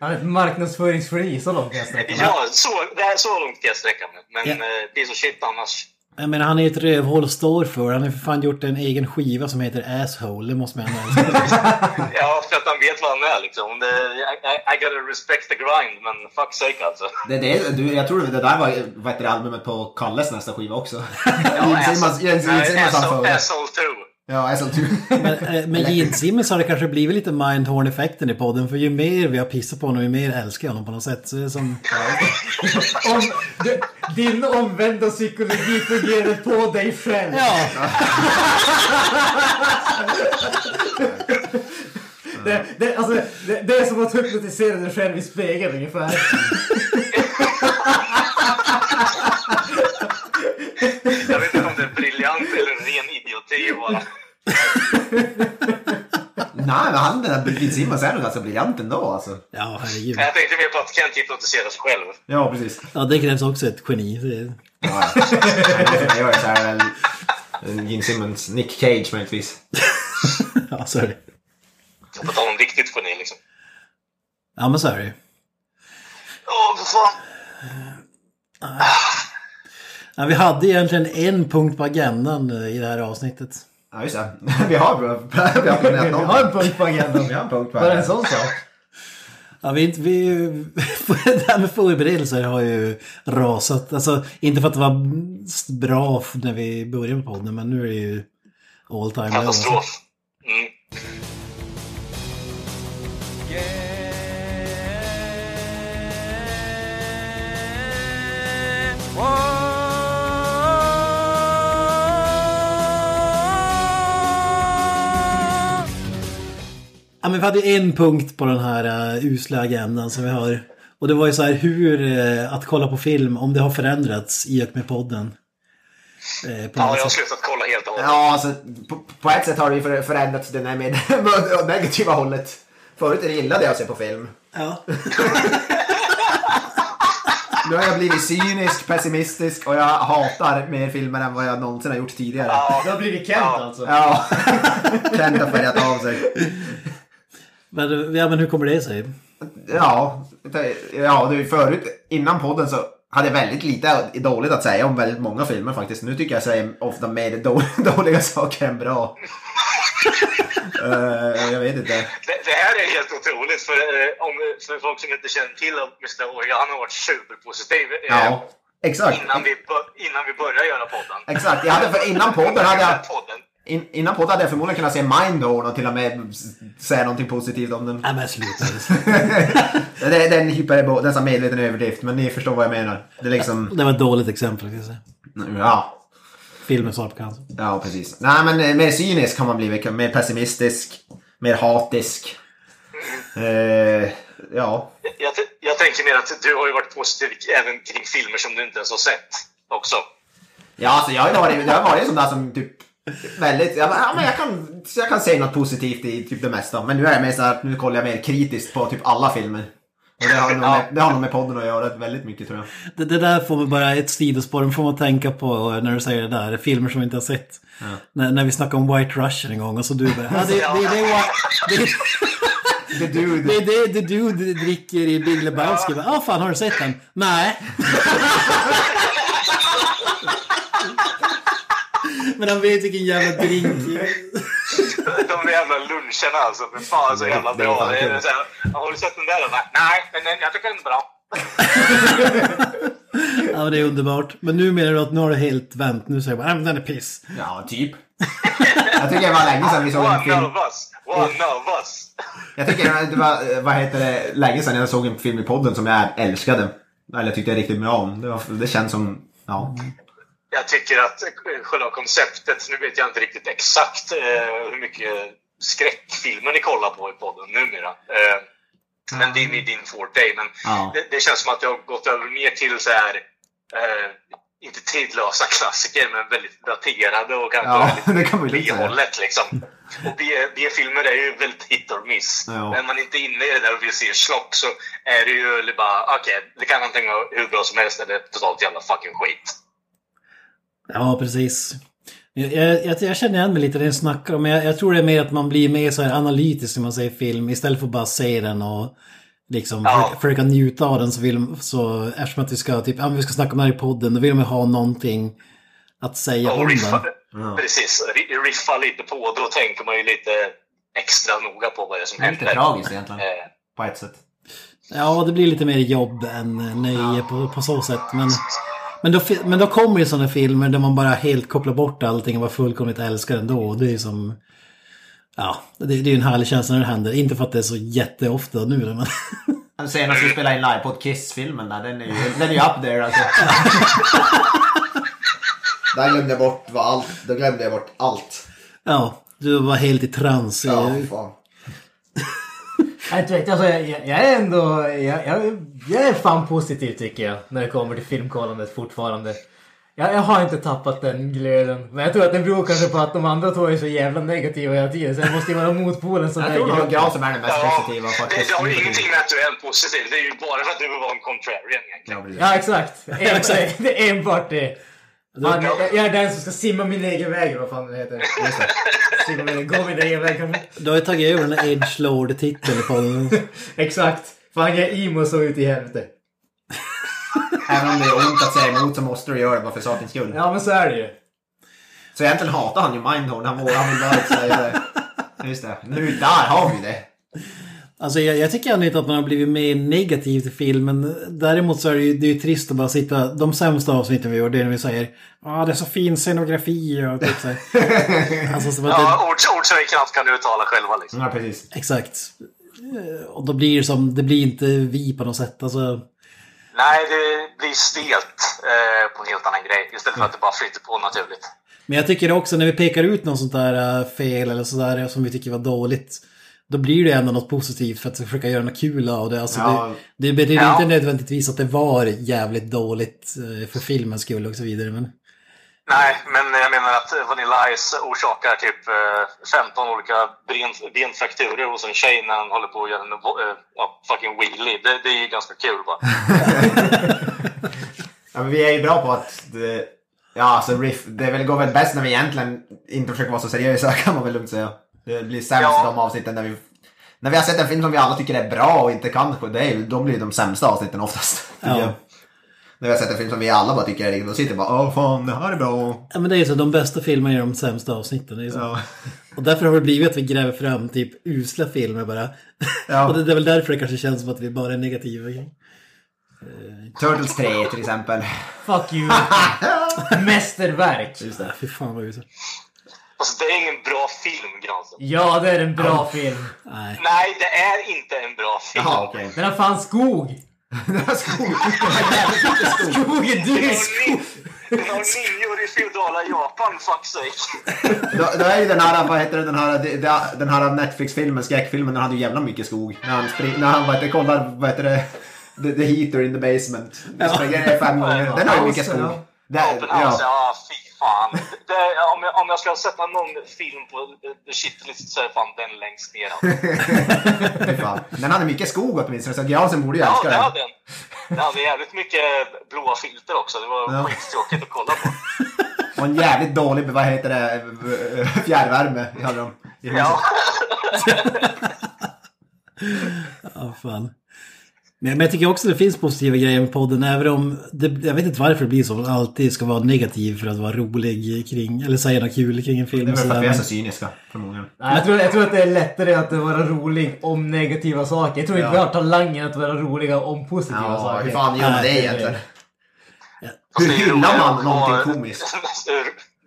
Speaker 2: Han är ett marknadsföringsgeni, så långt kan jag sträcka mig.
Speaker 4: Ja, så, det är så långt kan jag sträcka mig. Men
Speaker 3: Ja.
Speaker 4: eh, piece of shit annars.
Speaker 3: Jag menar, han är ett rövhål och står för. Han har för fan gjort en egen skiva som heter Asshole. Det måste man ändå erkänna.
Speaker 4: Ja, för att han vet vad han är liksom. Det, I, I, I gotta respect the grind, men fuck sake alltså.
Speaker 1: Det, är det, du, jag tror det där var vad heter det, albumet på Kalles nästa skiva också. Jens Simmons- Jens- Jens Simmons han
Speaker 4: Asshole
Speaker 1: sjöng.
Speaker 4: 2.
Speaker 1: Ja, SL2.
Speaker 3: Men, eh, men Gene Simmons har det kanske blivit lite mindhorn-effekten i podden. För ju mer vi har pissat på honom, ju mer älskar jag honom på något sätt. Så det är som...
Speaker 2: Om, du, din omvända psykologi fungerar på dig själv.
Speaker 3: Ja,
Speaker 2: Det, det, alltså, det, det är som att hypnotisera dig själv i spegeln ungefär.
Speaker 4: Jag vet inte om det är briljant eller ren idioti bara.
Speaker 1: Nej, men han den där Gene Simmons är nog ganska briljant ändå alltså.
Speaker 3: ja herregud.
Speaker 4: Jag tänkte mer på att Kent hypnotiseras själv.
Speaker 1: Ja, precis.
Speaker 3: Ja, det krävs också ett geni. Det-
Speaker 1: Ja, ja. Jag gör så här väl Gene Simmons, Nick Cage möjligtvis.
Speaker 3: Ja, så är det.
Speaker 4: På tal om riktigt geni liksom.
Speaker 3: Ja, men så är det ju.
Speaker 4: Åh, för fan!
Speaker 3: ja, Vi hade egentligen en punkt på agendan eh, i det här avsnittet.
Speaker 1: Ja, just det. Vi har, vi har planerat
Speaker 2: Vi har en
Speaker 1: någonting.
Speaker 2: punkt på agendan.
Speaker 1: Vi har en punkt på
Speaker 2: Bara en
Speaker 1: det.
Speaker 2: sån sak.
Speaker 3: Ja, vi, inte- vi, det här med förberedelser har ju rasat. Alltså, inte för att det var bra när vi började med podden, men nu är det ju all time low.
Speaker 4: Katastrof. Mm.
Speaker 3: Ja, men vi hade en punkt på den här uh, usla agendan som vi har. Och det var ju så här hur eh, att kolla på film, om det har förändrats i och med podden. Eh, på något
Speaker 4: Ja, jag har
Speaker 3: sätt.
Speaker 4: slutat kolla helt och hållet.
Speaker 1: Ja, alltså på, på ett sätt har det ju för- förändrats det där med åt negativa hållet. Förut gillade jag att se på film.
Speaker 3: ja.
Speaker 1: Nu har jag blivit cynisk, pessimistisk och jag hatar mer filmer än vad jag någonsin har gjort tidigare.
Speaker 2: Det har blivit Kent alltså.
Speaker 1: Ja. Kent har färgat av sig.
Speaker 3: Men, ja, men hur kommer det sig?
Speaker 1: Ja, ja det är ju förut innan podden så hade jag väldigt lite dåligt att säga om väldigt många filmer faktiskt. Nu tycker jag säger ofta mer då- dåliga saker än bra. Eh, jag vet inte.
Speaker 4: Det, det här är helt otroligt för, eh, om, för folk som inte känner till Mr. Oja. Han har varit superpositiv eh,
Speaker 1: Ja, exakt.
Speaker 4: innan, vi, bör- innan vi började göra podden.
Speaker 1: Exakt, jag hade för innan podden hade jag,
Speaker 4: podden.
Speaker 1: in, innan podden hade jag förmodligen kunnat se Mindhorn och till och med s- säga någonting positivt om den.
Speaker 3: Ja, men sluta.
Speaker 1: Det, det är en hyperbo, det är en sån medveten överdrift men ni förstår vad jag menar. Det är liksom,
Speaker 3: Det var ett dåligt exempel. Kan jag säga.
Speaker 1: ja.
Speaker 3: Filmen svar på cancer.
Speaker 1: Ja, precis. Nej, men eh, mer cynisk har man blivit. Mer pessimistisk. Mer hatisk. Eh, ja.
Speaker 4: Jag, t- jag tänker mer att du har ju varit positiv även kring filmer som du inte ens har sett också.
Speaker 1: Ja, alltså jag har varit, jag har varit en sån där som typ väldigt, ja, men- ja men jag kan, så jag kan säga något positivt i typ det mesta. Men nu är jag mer så här, nu kollar jag mer kritiskt på typ alla filmer. Och det har nog med, det har nog med podden att göra väldigt mycket tror jag.
Speaker 3: Det, det där får man bara ett sidospår, det får man tänka på när du säger det där. Filmer som vi inte har sett. När, när vi snackade om White Russian en gång och så du bara... Ja, det, det,
Speaker 1: The
Speaker 3: det, det, det,
Speaker 1: Dude.
Speaker 3: det är det, det du dricker i Big Lebowski. Ja, ah, fan har du sett den? Nej. Men han vet vilken jävla drink.
Speaker 4: De där jävla luncherna alltså. För fan så jävla
Speaker 1: Det är
Speaker 4: bra.
Speaker 1: fan
Speaker 4: Det är
Speaker 1: kul.
Speaker 4: så här, har du sett den där? då?" Nej, men den- jag tycker den är bra.
Speaker 3: Ja, men det är underbart. Men nu menar du att nu har du helt vänt. Nu säger jag bara, "Ah, men den är piss.
Speaker 1: Ja, typ. Jag tycker det var länge sedan vi såg en
Speaker 4: One
Speaker 1: film.
Speaker 4: of us. One of us.
Speaker 1: Jag tycker det var, eh, vad heter det, länge sedan jag såg en film i podden som jag älskade. Eller tyckte riktigt bra om. Det, var, det känns som, ja.
Speaker 4: Jag tycker att eh, själva konceptet, nu vet jag inte riktigt exakt eh, hur mycket skräckfilmer ni kollar på i podden numera. Eh, men det är
Speaker 1: Mm.
Speaker 4: ju din forte. Men
Speaker 1: Ja.
Speaker 4: det, det känns som att jag har gått över mer till så här, eh, inte tidlösa klassiker, men väldigt daterade och kanske
Speaker 1: Ja,
Speaker 4: väldigt
Speaker 1: det kan man ju lugnt säga.
Speaker 4: B-hållet liksom. Och B- B-filmer är ju väldigt hit or miss.
Speaker 1: Ja.
Speaker 4: När man inte är inne i det där och vill se slock så är det ju eller bara, okej, det kan antingen vara hur bra som helst eller totalt jävla fucking skit.
Speaker 3: Ja, precis. Jag, jag, jag- jag känner igen mig lite i det ni snackar om. Men jag, jag tror det är mer att man blir mer så här analytisk när man säger film. Istället för att bara se den och liksom
Speaker 4: Ja.
Speaker 3: försöka, försöka njuta av den så vill så eftersom att vi ska typ, ja, men vi ska snacka om det här i podden, då vill man ha någonting att säga
Speaker 4: Och
Speaker 3: om
Speaker 4: riffa,
Speaker 3: den.
Speaker 1: Ja.
Speaker 4: Precis, ri- riffa lite på det. Då tänker man ju lite extra noga på vad det är som
Speaker 1: Det är lite
Speaker 4: händer.
Speaker 1: tragiskt egentligen.
Speaker 4: Eh,
Speaker 1: På ett sätt.
Speaker 3: Ja, det blir lite mer jobb än eh, nöje på, på så sätt. Men, men, då, fi- men då kommer ju sådana filmer där man bara helt kopplar bort allting och bara fullkomligt älskar den då. Och det är ju som... Ja, det, det är ju en härlig känsla när det händer. Inte för att det är så jätteofta nu, men...
Speaker 1: Den senaste vi spelade in live på Kiss-filmen där, den är ju, den är ju up there alltså.
Speaker 5: Där glömde jag bort vad allt. Då glömde jag bort allt.
Speaker 3: Ja, du var helt i trans.
Speaker 5: Ja,
Speaker 1: Mm.
Speaker 3: Eh,
Speaker 5: fan.
Speaker 2: Jag, vet, inte, alltså, jag, jag- jag är ändå... Jag, jag, jag är fan positiv tycker jag. När det kommer till filmkollandet fortfarande. Jag, jag har inte tappat den glöden. Men jag tror att det beror kanske på att de andra två är så jävla negativa hela tiden. Så det måste ju vara motpolen som
Speaker 1: Jag tror nog
Speaker 2: väger
Speaker 1: att
Speaker 2: upp.
Speaker 1: Grahn är den mest
Speaker 4: Ja,
Speaker 1: positiva
Speaker 4: det,
Speaker 1: faktiskt.
Speaker 4: det har ju ingenting med att du är en positiv. Det är ju bara för att du vill vara en contrarian egentligen.
Speaker 1: Ja, precis.
Speaker 2: Ja exakt. En, det är enbart det. Fan, jag, jag är den som ska simma min egen väg eller vad fan det heter. Simma min, gå min egen väg kanske.
Speaker 3: Du har ju tagit över den där Edge Lord-titeln på den.
Speaker 2: Exakt. Fan jag är emo så ut i helvete.
Speaker 1: Även om det är ont att säga emot så måste du göra det bara för sakens skull.
Speaker 2: Ja men så är det ju.
Speaker 1: Så egentligen hatar han ju Mindhorn. Han vågar han vill bara inte säga det. Just det. Nu där har vi det.
Speaker 3: Alltså jag, jag tycker ändå inte att man har blivit mer negativ till filmen. Däremot så är det ju, det är ju trist att bara sitta, de sämsta avsnitten vi gör, det är när vi säger Ja, ah, det är så fin scenografi och typ så här. Alltså som att det,
Speaker 4: Ja, ord, ord som vi knappt kan uttala själva liksom.
Speaker 1: Ja, precis.
Speaker 3: exakt. Eh, Och då blir det som, det blir inte vi på något sätt. Alltså,
Speaker 4: Nej, det blir stelt eh, på en helt annan grej. Istället för att det bara flyter på naturligt.
Speaker 3: men jag tycker också när vi pekar ut något sånt där eh, fel eller sådär som vi tycker var dåligt. Då blir det ändå något positivt för att försöka göra något kul av det. Alltså,
Speaker 1: Ja.
Speaker 3: det, det betyder
Speaker 4: Ja.
Speaker 3: inte nödvändigtvis att det var jävligt dåligt eh, för filmens skull och så vidare. Men...
Speaker 4: Nej, men jag menar att Vanilla Ice orsakar typ eh, 15 olika ben, benfrakturer hos en tjej när han håller på att göra en eh, ja, fucking wheelie. Det, det är ju ganska kul bara.
Speaker 1: Ja, men vi är ju bra på att... Det, ja, alltså riff. Det väl, går väl bäst när vi egentligen inte försöker vara så seriösa kan man väl lugnt säga. Det blir sämst
Speaker 4: Ja.
Speaker 1: de avsnitten när vi... När vi har sett en film som vi alla tycker är bra och inte kan på, det är, ju- de blir ju de sämsta avsnitten oftast. tycker
Speaker 3: Ja.
Speaker 1: jag. När vi har sett en film som vi alla bara tycker är riktigt, då sitter vi bara åh fan, det här är bra.
Speaker 3: Ja men det är ju så, de bästa filmerna är de sämsta avsnitten. Det är ju så.
Speaker 1: Ja.
Speaker 3: Och därför har det blivit att vi gräver fram typ usla filmer bara.
Speaker 1: Ja.
Speaker 3: och det, det är väl därför det kanske känns som att vi bara är negativa.
Speaker 1: Turtles 3 till exempel.
Speaker 2: Fuck you. Mästerverk.
Speaker 3: Just det. Fy fan vad usla.
Speaker 4: Alltså, det är ingen bra film, Granström.
Speaker 2: Ja det är en bra film.
Speaker 3: Nej.
Speaker 4: Nej, det är inte en bra film.
Speaker 1: Jaha, okej.
Speaker 2: Den har fan skog.
Speaker 1: Det var skog.
Speaker 2: Skog är
Speaker 4: Den
Speaker 2: dyr.
Speaker 4: har nin- Den har ninjor i feodala Japan, fuck sake.
Speaker 1: Då, då är ju den här, vad heter det, den här, det- det- den här Netflix-filmen, skräckfilmen, den hade ju jävla mycket skog. När han, spring, när han vad heter, det, kollar, vad heter det, the, the heater in the basement. Den springer ner fem gånger. Den har ju mycket skog. Det,
Speaker 4: Oppenheimer,
Speaker 1: ja.
Speaker 4: Alltså, ja fy fan. Det, om, jag, om jag ska sätta någon film på the shitlist så är fan den längst ner.
Speaker 1: fy fan. Den hade mycket skog åtminstone, så Gransen borde ju
Speaker 4: Ja,
Speaker 1: älska
Speaker 4: det
Speaker 1: den.
Speaker 4: hade den. Det hade jävligt mycket blåa filter också. Det var
Speaker 1: Ja.
Speaker 4: skittråkigt att kolla på.
Speaker 1: Och en jävligt dålig, vad heter det, fjärrvärme hade de. i huset.
Speaker 4: Ja.
Speaker 3: Ja, fan. Men men jag tycker också det finns positiva grejer med podden, även om det, jag vet inte varför det blir så, man alltid ska vara negativ för att vara rolig kring, eller säga något kul kring en
Speaker 1: Det är
Speaker 3: film. och
Speaker 1: väl för
Speaker 3: sådär.
Speaker 1: att vi är så cyniska, förmodligen.
Speaker 2: Nej, jag, tror, jag tror att det är lättare att vara rolig om negativa saker. Jag tror inte vi har talangen att vara roliga om positiva
Speaker 1: Ja,
Speaker 2: saker.
Speaker 1: hur fan gör man det
Speaker 3: Nej,
Speaker 1: egentligen?
Speaker 4: Det
Speaker 1: Hur
Speaker 4: är ju
Speaker 1: hyllar
Speaker 4: roligare
Speaker 1: man
Speaker 4: att
Speaker 1: någonting
Speaker 4: vara-
Speaker 1: komiskt?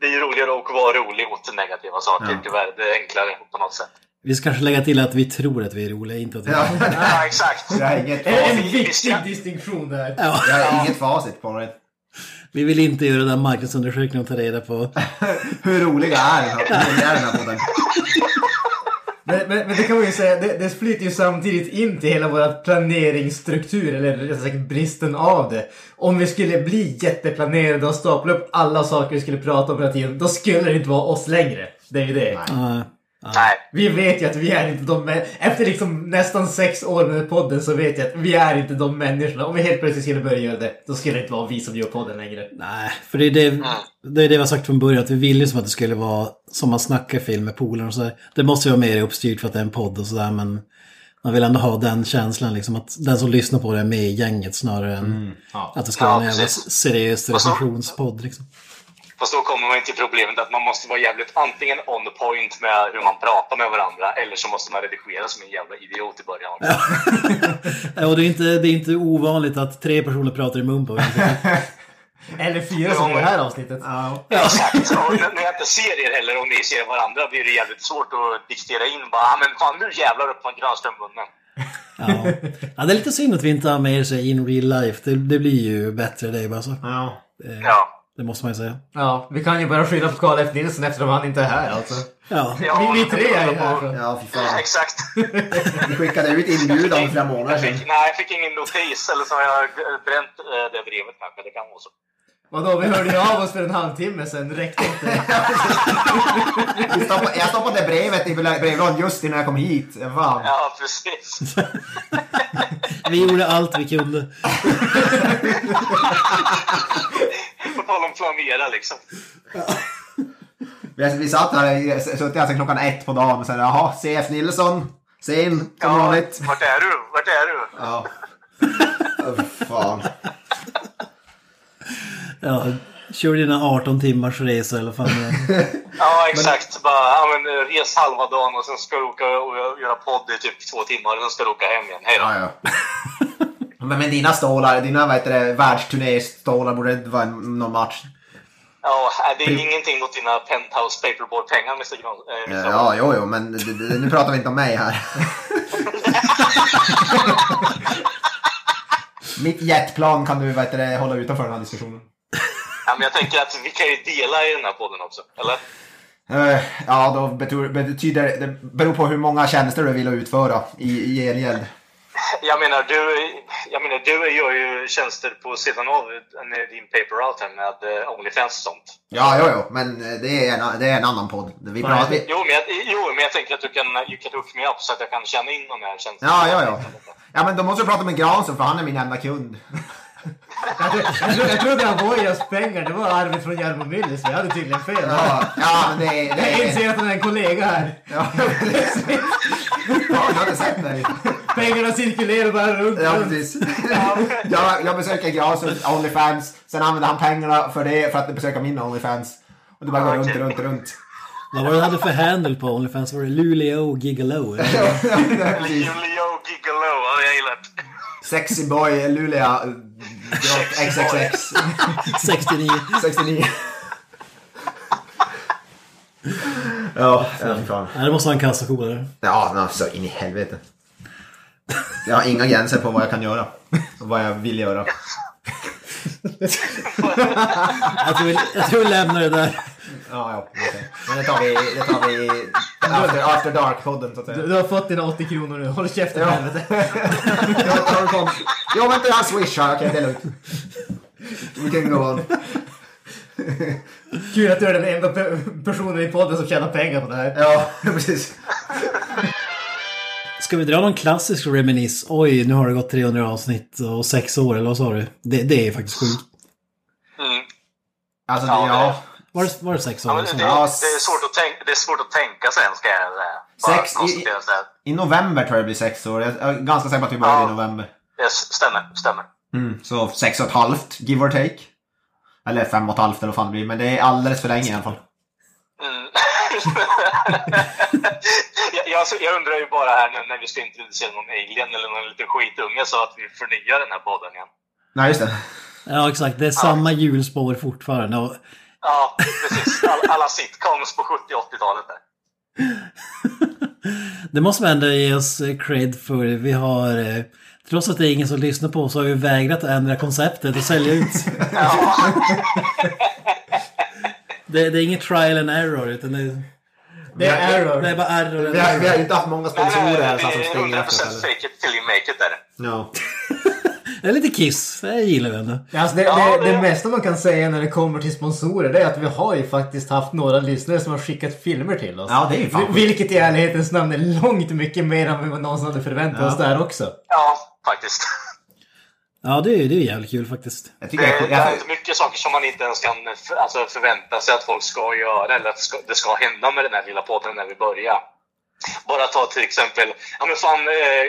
Speaker 4: Det är ju roligare att vara rolig åt negativa saker
Speaker 1: Ja.
Speaker 4: tyvärr. Det är enklare på något sätt.
Speaker 3: Vi ska kanske lägga till att vi tror att vi är roliga, inte att vi...
Speaker 1: Ja,
Speaker 4: Ja, exakt.
Speaker 1: jag har inget,
Speaker 2: Det är en
Speaker 4: Ja, vi
Speaker 2: viktig
Speaker 4: ska-
Speaker 2: distinktion där.
Speaker 3: Ja,
Speaker 1: jag har inget facit på det.
Speaker 3: vi vill inte göra den där marknadsundersökningen och ta reda på
Speaker 1: Hur roliga är den här, hur är den här podden?
Speaker 2: Men, men, men det kan man ju säga, det, det flyter ju samtidigt in till hela vår planeringsstruktur, eller rättare sagt bristen av det. Om vi skulle bli jätteplanerade och stapla upp alla saker vi skulle prata om hela tiden, då skulle det inte vara oss längre. Det är ju det.
Speaker 3: eh,
Speaker 4: Nej.
Speaker 2: Vi vet ju att vi är inte de mä- Efter liksom nästan sex år med podden så vet jag att vi är inte de människorna. Om vi helt plötsligt skulle börja göra det, då skulle det inte vara vi som gör podden längre.
Speaker 3: Nej, för det är det,
Speaker 4: Mm.
Speaker 3: det är det vi har sagt från början, att vi ville ju som att det skulle vara som man snackar film med polarna och sådär. Det måste ju vara mer uppstyrt för att det är en podd och sådär, men man vill ändå ha den känslan liksom att den som lyssnar på det är med i gänget snarare än att det ska
Speaker 4: Ja,
Speaker 3: vara en jävla
Speaker 4: precis.
Speaker 3: seriös
Speaker 4: Och så-
Speaker 3: recensionspodd liksom.
Speaker 4: Fast då kommer man till problemet att man måste vara jävligt antingen on point med hur man pratar med varandra eller så måste man redigera som en jävla idiot i början.
Speaker 3: Ja, och det är, inte, det är inte ovanligt att tre personer pratar i mun på varandra.
Speaker 2: Eller fyra som i det här avsnittet.
Speaker 4: Exakt. Och n- när jag inte ser er heller, om ni ser varandra, blir det jävligt svårt att diktera in bara "Ah, men fan nu jävlar upp man Granström munnen.
Speaker 3: Ja. ja, det är lite synd att vi inte har med er sig in real life. Det, det blir ju bättre det är bara så.
Speaker 1: Ja.
Speaker 3: Eh,
Speaker 4: Ja.
Speaker 3: Det måste man ju säga.
Speaker 2: Ja, vi kan ju bara skylla på Karl F. Nilsson eftersom han inte är här alltså.
Speaker 3: Ja,
Speaker 4: Ja,
Speaker 2: Vi, vi tre är ju här.
Speaker 1: Ja, fy fan.
Speaker 4: Exakt.
Speaker 1: Vi skickade ut inbjudan för flera månader
Speaker 4: Jag
Speaker 1: sedan.
Speaker 4: fick, nej, jag fick ingen notis, eller så har jag eh, bränt eh, det brevet kanske. Det kan vara så.
Speaker 2: Vadå, vi hörde ju av oss för en halvtimme sen. Räckte inte.
Speaker 1: Vi stoppade- Jag stoppade brevet i brevlådan just innan jag kom hit. Fan.
Speaker 4: Ja, precis.
Speaker 3: vi gjorde allt vi kunde.
Speaker 4: På tal om planera liksom.
Speaker 1: Vi, vi satt här, i- suttit alltså klockan ett på dagen och sen jaha, CF Nilsson. Sen, som vanligt.
Speaker 4: vart är du? Vart är du?
Speaker 1: Ja. Åh, Fan.
Speaker 3: Ja, kör dina 18 timmars resa eller fan. det är.
Speaker 4: Ja, exakt. Bara, ja, men, eh, res halva dagen och sen ska du åka och göra podd i typ två timmar och sen ska du åka hem igen. Hej då.
Speaker 1: Ja, ja. Men, men dina stålar, dina vad heter det, världsturnéstålar borde inte vara en- någon match.
Speaker 4: Ja, det är ingenting mot dina penthouse paperboard-pengar, Mr. Gran. eh, Mr.
Speaker 1: Ja, jo, jo, men d- d- nu pratar vi inte om mig här. Mitt jetplan kan du vad heter det, hålla utanför den här diskussionen.
Speaker 4: Ja, men jag tänker att vi kan ju dela i den här podden också, eller?
Speaker 1: Eh, Ja, då betyder, betyder det beror på hur många tjänster du vill utföra i, i gengäld.
Speaker 4: Jag menar, du, jag menar, du gör ju tjänster på sidan av eh, din paper out här med eh, Onlyfans och sånt.
Speaker 1: Ja, jo, jo, men eh, det är en, det är en annan podd. Vi pratar, vi,
Speaker 4: Jo men, jag, jo, men jag tänker att du kan, you can hook me up så att jag kan känna in de här tjänsterna.
Speaker 1: ja, ja, ja. Ja, men då måste du prata med Granström för han är min enda kund.
Speaker 2: Jag, tro, jag trodde han var i oss pengar. Det var arvet från Jarmo Myllys. Vi hade tydligen fel.
Speaker 1: Ja, ja men det är...
Speaker 2: Jag
Speaker 1: Det är
Speaker 2: inser att han är en kollega här.
Speaker 1: ja, precis. ja, jag hade sett dig.
Speaker 2: Pengarna cirkulerar bara runt.
Speaker 1: Ja,
Speaker 2: runt.
Speaker 1: precis. Jag, jag besöker Granströms Onlyfans, sen använder han pengarna för det för att besöka min Onlyfans. Och det bara går runt, runt, runt.
Speaker 3: Vad var det du hade för handle på Onlyfans? Var det Luleå Gigolo? eller?
Speaker 1: Ja, precis.
Speaker 4: Julio Gigolo, ja, jag gillar det.
Speaker 1: Sexy boy Luleå eh, drop XXX
Speaker 3: 69.
Speaker 1: 69. Ja, fy fan.
Speaker 3: Nej, det måste vara en kassako där.
Speaker 1: Ja, men så in i helvete. Jag har inga gränser på vad jag kan göra. Och vad jag vill göra.
Speaker 3: Jag tror, vi- jag tror vi lämnar det där.
Speaker 1: Ja, ja. okej. Men det tar vi, det tar vi after, after dark-podden så att säga.
Speaker 2: Du, du har fått dina 80 kronor nu. Håll käften
Speaker 1: Ja.
Speaker 2: helvete.
Speaker 1: Jag tar det kom. Jo, vänta, jag har swish här. Okej, det är lugnt. We can go on.
Speaker 2: Kul att du är den enda pe- personen i podden som tjänar pengar på det här.
Speaker 1: Ja, precis.
Speaker 3: Ska vi dra någon klassisk reminis? Oj, nu har det gått 300 avsnitt och sex år, eller vad sa du? Det, det är faktiskt sjukt.
Speaker 4: Mm.
Speaker 1: Alltså, det, ja.
Speaker 3: Var det, var det sex
Speaker 4: Ja,
Speaker 3: år?
Speaker 4: men det,
Speaker 3: sedan?
Speaker 4: det, är svårt att tänka, det är svårt att tänka sen, ska jag säga. Bara
Speaker 1: Sex i-
Speaker 4: konstatera så här.
Speaker 1: I november tror jag det blir sex år. Jag jag är ganska säker på att vi började
Speaker 4: Ja.
Speaker 1: i november.
Speaker 4: Yes, stämmer, stämmer.
Speaker 1: Mm, så sex och ett halvt, give or take. Eller fem och ett halvt eller vad fan det blir. Men det är alldeles för länge i alla fall.
Speaker 4: Mm. jag, jag, jag undrar ju bara här nu när vi ska introducera någon alien eller någon liten skitunge så att vi förnyar den här podden igen.
Speaker 1: Nej, just det.
Speaker 3: Ja, exakt. Det är samma hjulspår fortfarande. Och,
Speaker 4: Ja, precis. All, alla sitcoms på 70 och 80-talet där.
Speaker 3: det måste man ändå ge oss eh, cred för. Vi har... eh, Trots att det är ingen som lyssnar på oss så har vi vägrat att ändra konceptet och sälja ut. Det, det är inget trial and error, utan det är,
Speaker 2: Det är error.
Speaker 3: det är bara error. and
Speaker 1: Vi har, vi har
Speaker 3: error.
Speaker 1: inte haft många
Speaker 4: Nej, nej,
Speaker 1: sponsorer
Speaker 4: nej,
Speaker 1: ens
Speaker 4: det
Speaker 1: som
Speaker 4: är
Speaker 1: springer
Speaker 4: 100%
Speaker 1: efter oss. eller?
Speaker 4: fake it till you make it där.
Speaker 1: Ja.
Speaker 3: Det är lite kiss. Det gillar vi ändå.
Speaker 2: Ja, Alltså det,
Speaker 4: Ja,
Speaker 2: det, det
Speaker 4: det-
Speaker 2: mesta man kan säga när det kommer till sponsorer det är att vi har ju faktiskt haft några lyssnare som har skickat filmer till oss.
Speaker 1: Ja, det är ju fan
Speaker 2: Vil- Vilket i ärlighetens namn är långt mycket mer än vad vi någonsin hade förväntat oss där också.
Speaker 4: Ja, faktiskt.
Speaker 3: Ja, det är, det är jävligt kul faktiskt.
Speaker 1: Jag
Speaker 4: Det,
Speaker 1: tycker
Speaker 4: är-
Speaker 1: Eh, jag,
Speaker 4: det är
Speaker 1: jag,
Speaker 4: inte mycket saker som man inte ens kan för, alltså, förvänta sig att folk ska göra eller att ska, det ska hända med den här lilla podden när vi börjar. Bara ta till exempel, ja men fan, eh,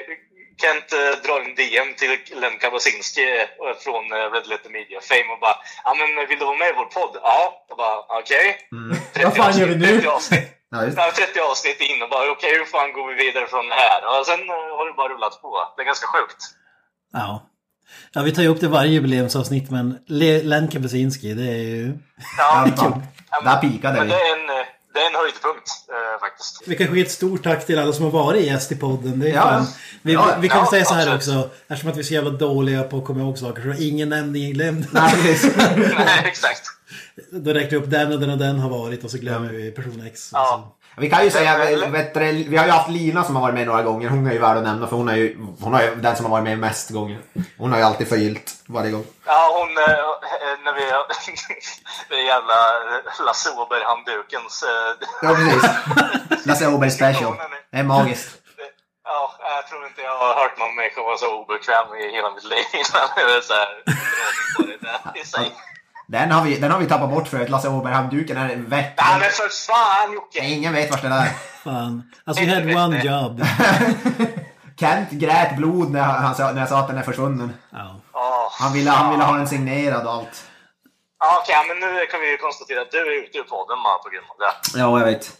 Speaker 4: Kent eh, drar en DM till Len Kabasinski eh, från eh, Red Letter Media Fame och bara ja men vill du vara med i vår podd? Ja. Jag bara okej.
Speaker 1: Mm.
Speaker 2: Vad fan gör vi nu?
Speaker 4: 30 avsnitt.
Speaker 1: Ja, just.
Speaker 4: Ja, 30 avsnitt in och bara okej hur fan går vi vidare från det här? Och sen eh, har det bara rullat på. Det är ganska sjukt.
Speaker 3: Ja. Ja, vi tar ju upp det i varje jubileumsavsnitt, men Le- Len Kapusinski, det är ju...
Speaker 4: Ja,
Speaker 1: fan.
Speaker 4: ja,
Speaker 1: Där pikade
Speaker 4: men
Speaker 1: vi.
Speaker 4: det är en, eh, det är en höjdpunkt eh, faktiskt.
Speaker 3: Vi kan skicka ett stort tack till alla som har varit gäst i podden. Det är
Speaker 1: Ja.
Speaker 3: fan... vi,
Speaker 1: Ja,
Speaker 3: vi kan
Speaker 4: ja,
Speaker 3: säga så här
Speaker 4: absolut.
Speaker 3: också, eftersom att vi är så jävla dåliga på att komma ihåg saker, så ingen nämnd, ingen glömd.
Speaker 1: Nej, precis.
Speaker 4: Nej, exakt.
Speaker 3: Då räknar vi upp den och den och den har varit och så glömmer vi person X.
Speaker 4: Ja.
Speaker 1: Vi kan ju säga, eh, vet du, vi har ju haft Lina som har varit med några gånger. Hon är ju värd att nämna för hon är ju, hon är ju den som har varit med mest gånger. Hon har ju alltid förgyllt varje gång.
Speaker 4: Ja, hon, eh, när vi, den jävla Lasse Åberg-handdukens, eh,
Speaker 1: Ja, precis. Lasse Åberg special. Det är magiskt.
Speaker 4: ja, jag tror inte jag har hört någon människa vara så obekväm i hela mitt liv innan. Det är så här, det är där i sig.
Speaker 1: Den har vi, den har vi tappat bort förut. Lasse Åberg-handduken är väck.
Speaker 4: Nej men för fan Jocke!
Speaker 1: Ingen vet vart den är.
Speaker 3: Fan. Alltså, we had one job.
Speaker 1: Kent grät blod när, han sa, när jag sa att den är försvunnen.
Speaker 3: Ja.
Speaker 4: Ja.
Speaker 1: Han ville, han ville ha den signerad och allt.
Speaker 4: Ja, Okej, men nu kan vi ju konstatera att du är ute ur podden bara på grund av det.
Speaker 1: Ja, jag vet.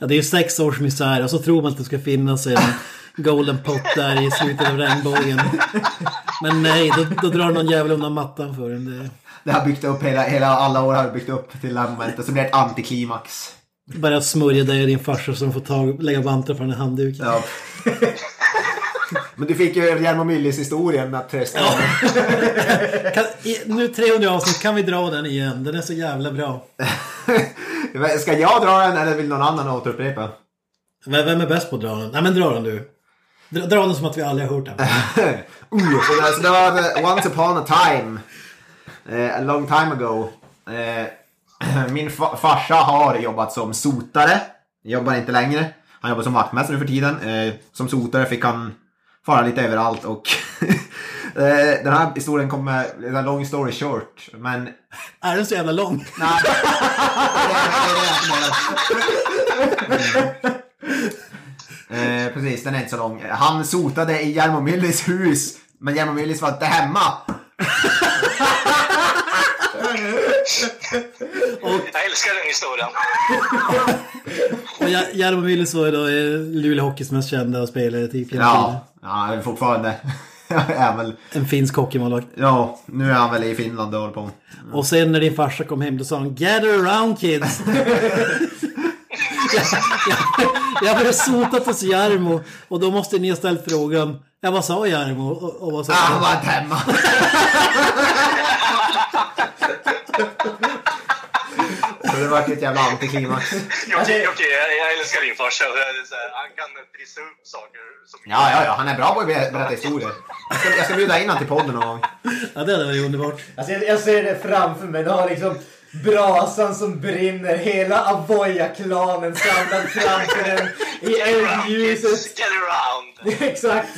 Speaker 3: Ja, det är ju sex års misär och så tror man att det ska finnas en golden pot där i slutet av regnbågen. Men nej, då, då drar någon jävel undan mattan för en. Det
Speaker 1: Det har byggt upp hela, hela alla år har det byggt upp till det här momentet. Så blir det ett antiklimax.
Speaker 3: är bara att smörja dig och din farsa som får tag, lägga vantar på den här handduken.
Speaker 1: Ja. Men du fick ju Jarmo Myllys historien att trösta ja.
Speaker 3: Kan, i, nu 300 avsnitt, kan vi dra den igen? Den är så jävla bra.
Speaker 1: Ska jag dra den eller vill någon annan återupprepa?
Speaker 3: Vem, vem är bäst på att dra den? Nej men dra den du. Dra, dra den som att vi aldrig har hört den.
Speaker 1: Uh, så det, alltså, det var eh, Once upon a time. Eh, a long time ago. Eh, min fa- farsa har jobbat som sotare. Jobbar inte längre. Han jobbar som vaktmästare nu för tiden. Eh, som sotare fick han fara lite överallt och eh, den här historien kommer, det är en long story short. Men
Speaker 3: Är den så jävla lång?
Speaker 1: Nej. Eh, precis, den är inte så lång. Han sotade i Jarmo Myllys hus, men Jarmo Myllys var inte hemma.
Speaker 4: Jag älskar den historien.
Speaker 3: Och Ja- Jarmo Myllys var ju då eh, Luleå Hockeys mest kända spelare typ. genom
Speaker 1: Ja, ja han är fortfarande. är väl,
Speaker 3: tiden. En finsk hockeymålvakt.
Speaker 1: ja, nu är han väl i Finland och håller på.
Speaker 3: Och sen när din farsa kom hem då sa han Gather around kids! jag, jag, jag blev sotat hos Jarmo och då måste ni ha ställt frågan Ja vad sa Jarmo? Och, och vad sa
Speaker 1: Ah, han
Speaker 3: han?
Speaker 1: var inte hemma. Så det vart ett jävla antiklimax.
Speaker 4: Jocke, Jocke jag, jag älskar din farsa. Det är så här, Han kan trissa upp saker. Som
Speaker 1: Ja, ja, ja, han är bra på att ber- berätta historier. Jag ska, jag ska bjuda in honom till podden någon gång.
Speaker 3: Ja det hade varit underbart.
Speaker 2: Alltså jag, jag ser det framför mig. Du har liksom brasan som brinner. Hela Avoya-klanen samlad framför den i
Speaker 4: Get around,
Speaker 2: eldljuset.
Speaker 4: kids. Get around!
Speaker 2: Exakt!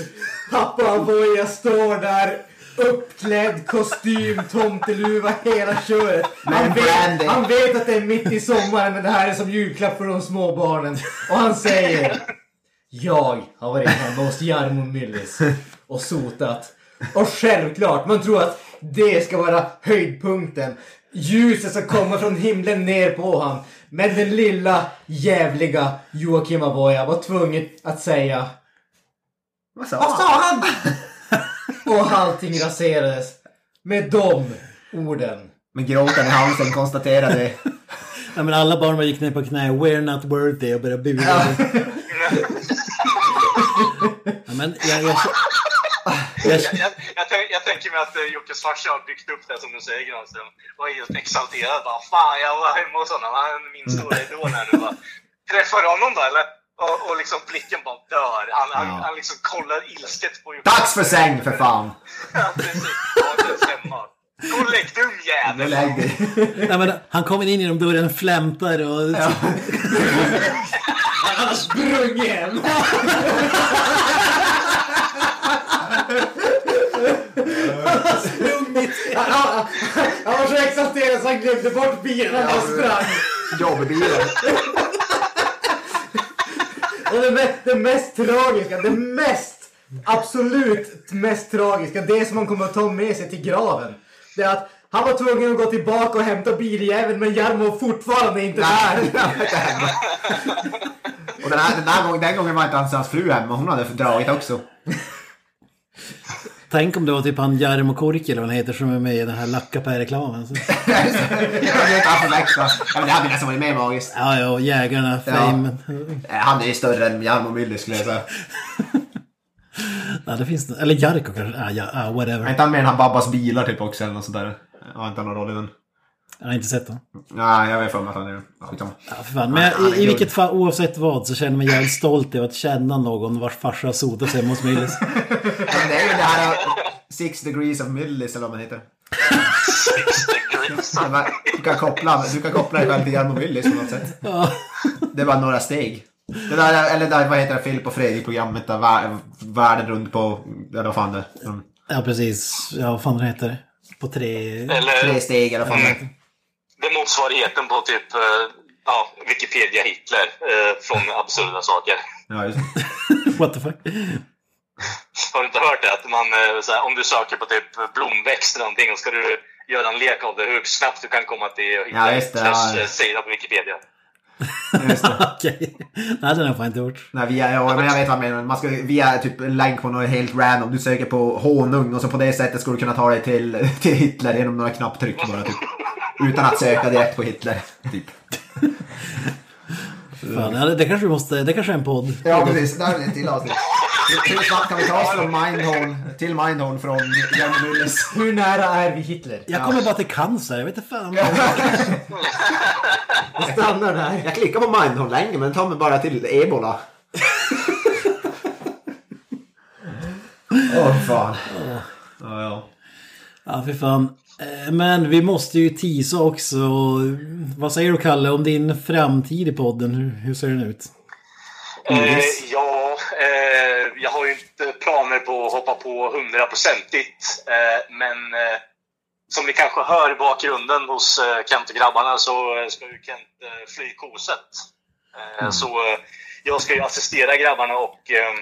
Speaker 2: Pappa Avoya står där uppklädd, kostym, tomteluva, hela köret. Han
Speaker 1: Men
Speaker 2: vet,
Speaker 1: branding.
Speaker 2: han vet att det är mitt i sommaren men det här är som julklapp för de små barnen. Och han säger Jag har varit hemma hos Jarmo Myllys och sotat. Och självklart, man tror att det ska vara höjdpunkten. Ljuset ska komma från himlen ner på han. Men den lilla jävliga Joakim Avoya var tvungen att säga
Speaker 1: Vad sa
Speaker 2: vad sa han? Och allting raserades med de orden.
Speaker 1: Med gråten i halsen konstaterade
Speaker 3: Ja, men alla barn bara gick ner på knä, we're not worthy och började bua. Ja, men jag, jag, jag,
Speaker 4: Jag, jag, jag, tänk- jag tänker mig att eh, Jockes farsa har byggt upp det som du säger Granström. Och är helt exalterad. Bara, Fan, jag var hemma hos honom. Han är min stora idol här nu. Bara, Träffar du honom då eller? Och, och liksom blicken bara dör. Han, han,
Speaker 1: Ja.
Speaker 4: han liksom kollar ilsket på Jocke.
Speaker 1: Dags för säng för fan!
Speaker 4: Ja, precis. Ja, det stämmer. Gå och lägg dig, ung
Speaker 1: Nu
Speaker 4: jävel!
Speaker 1: lägg dig.
Speaker 3: nej, men han kommer in genom dörren, flämtar och...
Speaker 2: Han har sprungit hem! Han har- han var så exalterad så han glömde bort bilen och sprang.
Speaker 1: Jobbbilen.
Speaker 2: Det, är det, mest, det mest tragiska, det mest, absolut mest tragiska, det som han kommer att ta med sig till graven. Det är att han var tvungen att gå tillbaka och hämta biljäveln men Jarmo var fortfarande inte där.
Speaker 1: Och den, här, den, här gången, den gången var inte hans, hans fru hemma. Hon hade dragit också.
Speaker 3: Tänk om det var typ han Jarmo Kurki eller vad han heter som är med i den här Lackapää-reklamen. Så-
Speaker 1: Jag vet inte, han förväxlar. Ja, men det hade nästan varit mer magiskt.
Speaker 3: Ja, ja, och jägarna, fame.
Speaker 1: Eh, Han är ju större än Jarmo Myller skulle jag säga.
Speaker 3: Ja. det finns det. Eller Jarko kanske. Ja, ja, ja whatever.
Speaker 1: Är inte han med i den här Babbas bilar typ också eller något sånt där? Har inte han någon roll i den?
Speaker 3: Jag har inte sett den.
Speaker 1: Nej, jag vet för mig att han är det. Skitsamma.
Speaker 3: Ja, för fan. Men
Speaker 1: Ja, han
Speaker 3: jag,
Speaker 1: är
Speaker 3: i, i
Speaker 1: guld.
Speaker 3: vilket fall, oavsett vad, så känner jag mig jävligt stolt över att känna någon vars farsa sotar sig hemma hos Millis.
Speaker 1: Ja, men det är ju det här eh, Six Degrees of Millis eller vad man heter. Det var- Du kan koppla, du kan koppla dig själv till Jarmo Myllys på något sätt.
Speaker 3: Ja.
Speaker 1: Det är bara några steg. Det där, eller där, vad heter det, Filip och Fredrik-programmet där vär- världen runt på, eller vad fan det är. Mm.
Speaker 3: Ja, precis. Ja, vad fan den heter. På tre...
Speaker 4: Eller
Speaker 1: Tre steg eller vad fan det heter.
Speaker 4: det är motsvarigheten på typ eh, ja, Wikipedia Hitler eh, från absurda saker.
Speaker 1: Ja, just det.
Speaker 3: What the fuck?
Speaker 4: Har du inte hört det? Att man, eh, så här, om du söker på typ blomväxt eller någonting och ska du göra en lek av det, hur snabbt du kan komma till att
Speaker 1: Ja,
Speaker 4: hitta
Speaker 1: just det,
Speaker 4: Hitlers
Speaker 1: ja.
Speaker 4: eh, sida på Wikipedia.
Speaker 1: Just det.
Speaker 3: Okej. Nej, den har jag fan inte gjort.
Speaker 1: Nej, via, ja, men jag vet vad jag menar. Man ska via typ en länk på något helt random. Du söker på honung och så på det sättet skulle du kunna ta dig till, till Hitler genom några knapptryck bara typ. Utan att söka direkt på Hitler. Typ.
Speaker 3: Fan, ja, det, det kanske vi måste... Det kanske är en podd.
Speaker 1: Ja precis, där är det ett till avsnitt. Hur snabbt kan vi ta oss från Mindhorn till Mindhorn från Jan Mullis?
Speaker 2: Hur nära är vi Hitler?
Speaker 3: Jag kommer bara till cancer. Jag vet inte fan.
Speaker 2: Jag stannar där.
Speaker 1: Jag klickar på Mindhorn länge men tar mig bara till ebola. Åh fan. Ja, ja.
Speaker 3: Ja, för fan. Eh, Men vi måste ju tisa också. Vad säger du Kalle om din framtid i podden? Hur, hur ser den ut?
Speaker 4: Eh, ja, eh, jag har ju inte planer på att hoppa på hundraprocentigt. Eh, men eh, som ni kanske hör i bakgrunden hos eh, Kent och grabbarna så eh, ska ju Kent eh, fly koset. Eh, Så eh, jag ska ju assistera grabbarna och eh,